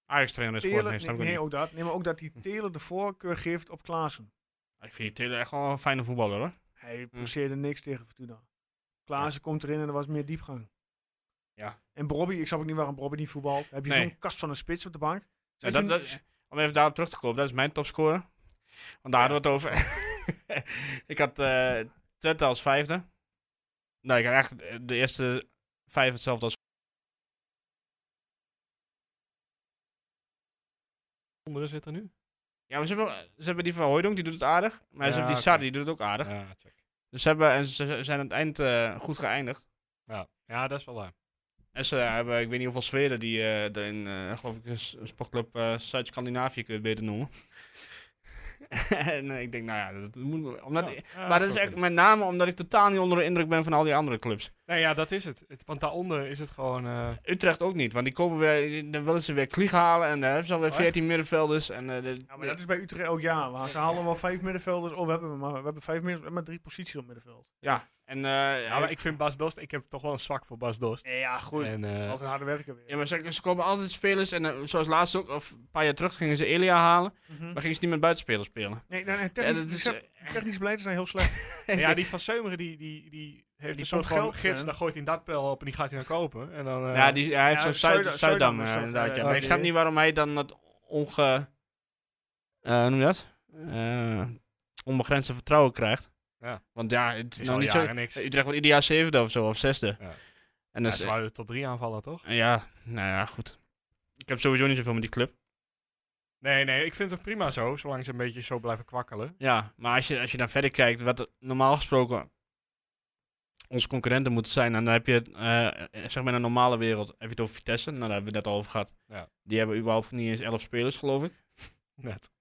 S5: Ajax-trainer is geworden,
S1: Telen,
S5: nee, snap
S1: nee,
S5: ik ook
S1: nee,
S5: niet.
S1: ook dat. Nee, maar ook dat
S4: Hm.
S1: die Telen de voorkeur geeft op Klaassen.
S5: Ik vind die Taylor echt wel een fijne voetballer, hoor.
S1: Hij presteerde niks tegen Fortuna. Klaassen komt erin en er was meer diepgang.
S5: Ja.
S1: En Bobby, ik snap ook niet waarom Bobby niet voetbalt. Heb je
S5: Nee.
S1: zo'n kast van een spits op de bank?
S5: Ja,
S1: Zet
S5: dat,
S1: je-
S5: dat is- om even daarop terug te komen, dat is mijn topscorer. Want daar hadden we het over. ik had eh Twente als vijfde. Nou, ik had eigenlijk de eerste vijf hetzelfde als...
S4: Onderen zit er nu.
S5: Ja, maar ze hebben, ze hebben die van Hooijdonk, die doet het aardig. Maar
S4: Ja,
S5: ze hebben die
S4: oké.
S5: Sarri, die doet het ook aardig.
S4: Ja, check.
S5: Dus ze, hebben, en ze ze zijn aan het eind eh, goed geëindigd.
S4: Ja. ja, dat is wel waar.
S5: En ze hebben, ik weet niet hoeveel Zweden die eh, er in, eh, geloof ik, een s- een sportclub eh, Zuid-Scandinavië kun je het beter noemen. en eh, ik denk, nou ja, dat moet... Omdat,
S4: Ja, ja,
S5: maar
S4: zou
S5: dat is
S4: kunnen.
S5: echt met name omdat ik totaal niet onder de indruk ben van al die andere clubs.
S4: Nee, ja, dat is het. het want daaronder is het gewoon... eh,
S5: Utrecht ook niet, want die komen weer, dan willen ze weer Klieg halen en daar hebben ze alweer
S4: Oh,
S5: 14 middenvelders. En, eh, de-
S1: Ja, nou, maar dat is bij Utrecht elk jaar. Maar ze halen wel vijf middenvelders. Oh, we hebben maar, we hebben vijf midden- we hebben maar drie posities op middenveld.
S5: en, eh,
S4: ja, maar ik vind Bas Dost... Ik heb toch wel een zwak voor Bas Dost.
S1: Nee, ja, goed.
S4: En, eh,
S1: Altijd harde werken weer.
S5: ja, maar ze, ze komen altijd spelers en eh, zoals laatst ook, of een paar jaar terug, gingen ze Elia halen,
S1: Mhm.
S5: maar gingen ze niet met buitenspelers spelen.
S1: Nee, nee, nee,
S5: Ja,
S1: technisch,
S5: dat is,
S1: ze- technisch beleid zijn heel slecht.
S4: ja, die van Seumeren, die, die, die heeft
S1: die
S4: een soort
S1: pompt
S4: van
S1: geld,
S4: gids.
S1: hè?
S4: Dan gooit hij een dartpijl op en die gaat hij dan kopen. En dan, eh,
S5: ja, die, hij heeft
S1: ja,
S5: zo'n
S1: Zuid-
S5: Zuid, Zuidam,
S1: Zuidam,
S5: eh,
S1: zo-
S5: inderdaad.
S1: eh,
S5: Ja.
S1: oh,
S5: Maar ik snap
S1: die-
S5: niet waarom hij dan dat onge... eh, hoe noem je dat? Eh, onbegrensde vertrouwen krijgt.
S4: Ja.
S5: Want ja, het is
S4: is
S5: nog
S4: al
S5: niet zo...
S4: jaren niks.
S5: Utrecht wordt ieder jaar zevende of zo, of zesde.
S4: Ja.
S5: En
S4: Ja,
S5: dat
S4: ze
S5: is,
S4: wouden de top 3 aanvallen, toch?
S5: Ja, nou ja, goed. Ik heb sowieso niet zoveel met die club.
S4: Nee, nee, ik vind het prima zo, zolang ze een beetje zo blijven kwakkelen.
S5: Ja, maar als je, als je dan verder kijkt, wat er normaal gesproken onze concurrenten moeten zijn. En dan heb je het, eh, eh, zeg maar in een normale wereld, heb je het over Vitesse. Nou, daar hebben we het net over gehad.
S4: Ja.
S5: Die hebben überhaupt niet eens 11 spelers, geloof ik.
S4: Net.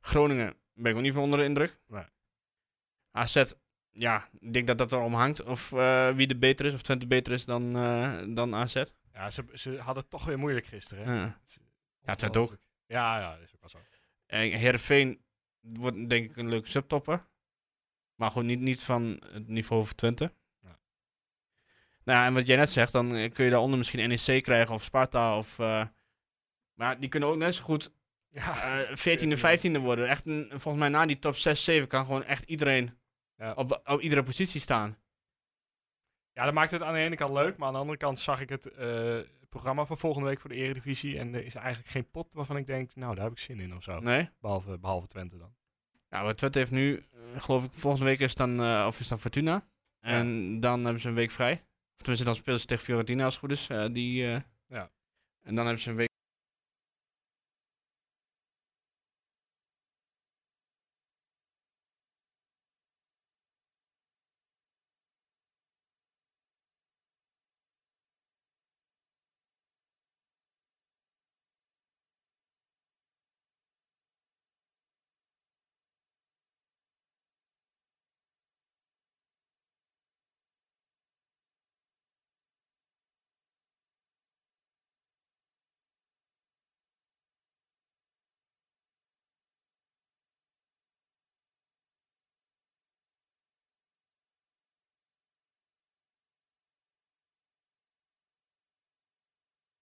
S5: Groningen ben ik ook niet van onder de indruk.
S4: Nee.
S5: AZ, ja, ik denk dat dat erom hangt. Of eh, wie de beter is, of Twente beter is dan, eh, dan AZ.
S4: Ja, ze, ze hadden het toch weer moeilijk gisteren. Hè?
S5: Ja. Ja, Twente ook.
S4: Ja, ja, dat is ook wel zo.
S5: En Heerenveen wordt denk ik een leuke subtopper. Maar gewoon niet, niet van het niveau van Twente.
S4: Ja.
S5: Nou, ja, en wat jij net zegt, dan eh, kun je daaronder misschien NEC krijgen of Sparta. Of, eh, maar die kunnen ook net zo goed
S4: Ja,
S5: eh,
S4: het is-
S5: 14e, 15e worden. Echt een, volgens mij na die top 6, 7 kan gewoon echt iedereen
S4: Ja.
S5: op, op iedere positie staan.
S4: Ja, dat maakt het aan de ene kant leuk, maar aan de andere kant zag ik het eh, programma van volgende week voor de Eredivisie. En er is eigenlijk geen pot waarvan ik denk, nou, daar heb ik zin in of zo.
S5: Nee?
S4: Behalve, behalve Twente dan.
S5: Nou, wat Twente heeft nu, eh, geloof ik, volgende week is dan, eh, of is dan Fortuna. En dan hebben ze een week vrij. Of tenminste, dan spelen ze tegen Fiorentina als het goed is. eh, die, eh,
S4: Ja.
S5: En dan hebben ze een week...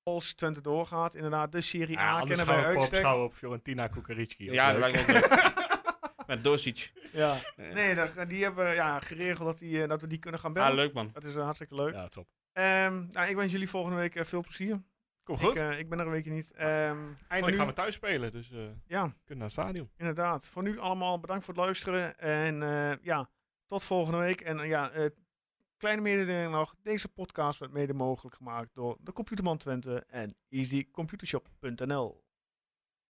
S1: Als Twente doorgaat, inderdaad, de Serie
S4: Ja,
S1: A
S4: anders
S1: kennen
S4: gaan
S1: wij
S4: we
S1: uitstek.
S4: vooropschouwen op Fiorentina Kukaricki.
S5: Ja, dat lijkt me wel leuk. Met Dosic.
S1: Ja. Nee, dat- die hebben we ja, geregeld dat, die, eh, dat we die kunnen gaan bellen.
S5: Ah, leuk man.
S1: Dat is eh, hartstikke leuk.
S4: Ja, top.
S1: Ehm, nou, ik wens jullie volgende week eh, veel plezier.
S4: Kom
S1: Ik,
S4: goed.
S1: eh, ik ben er een weekje niet. Eindelijk
S4: Eindelijk gaan we thuis spelen, dus eh, we
S1: Ja,
S4: kunnen naar het stadion.
S1: inderdaad. Voor nu allemaal bedankt voor het luisteren. En eh, ja, tot volgende week. En eh, ja, eh, kleine mededeling nog. Deze podcast werd mede mogelijk gemaakt door de Computerman Twente en easycomputershop.nl.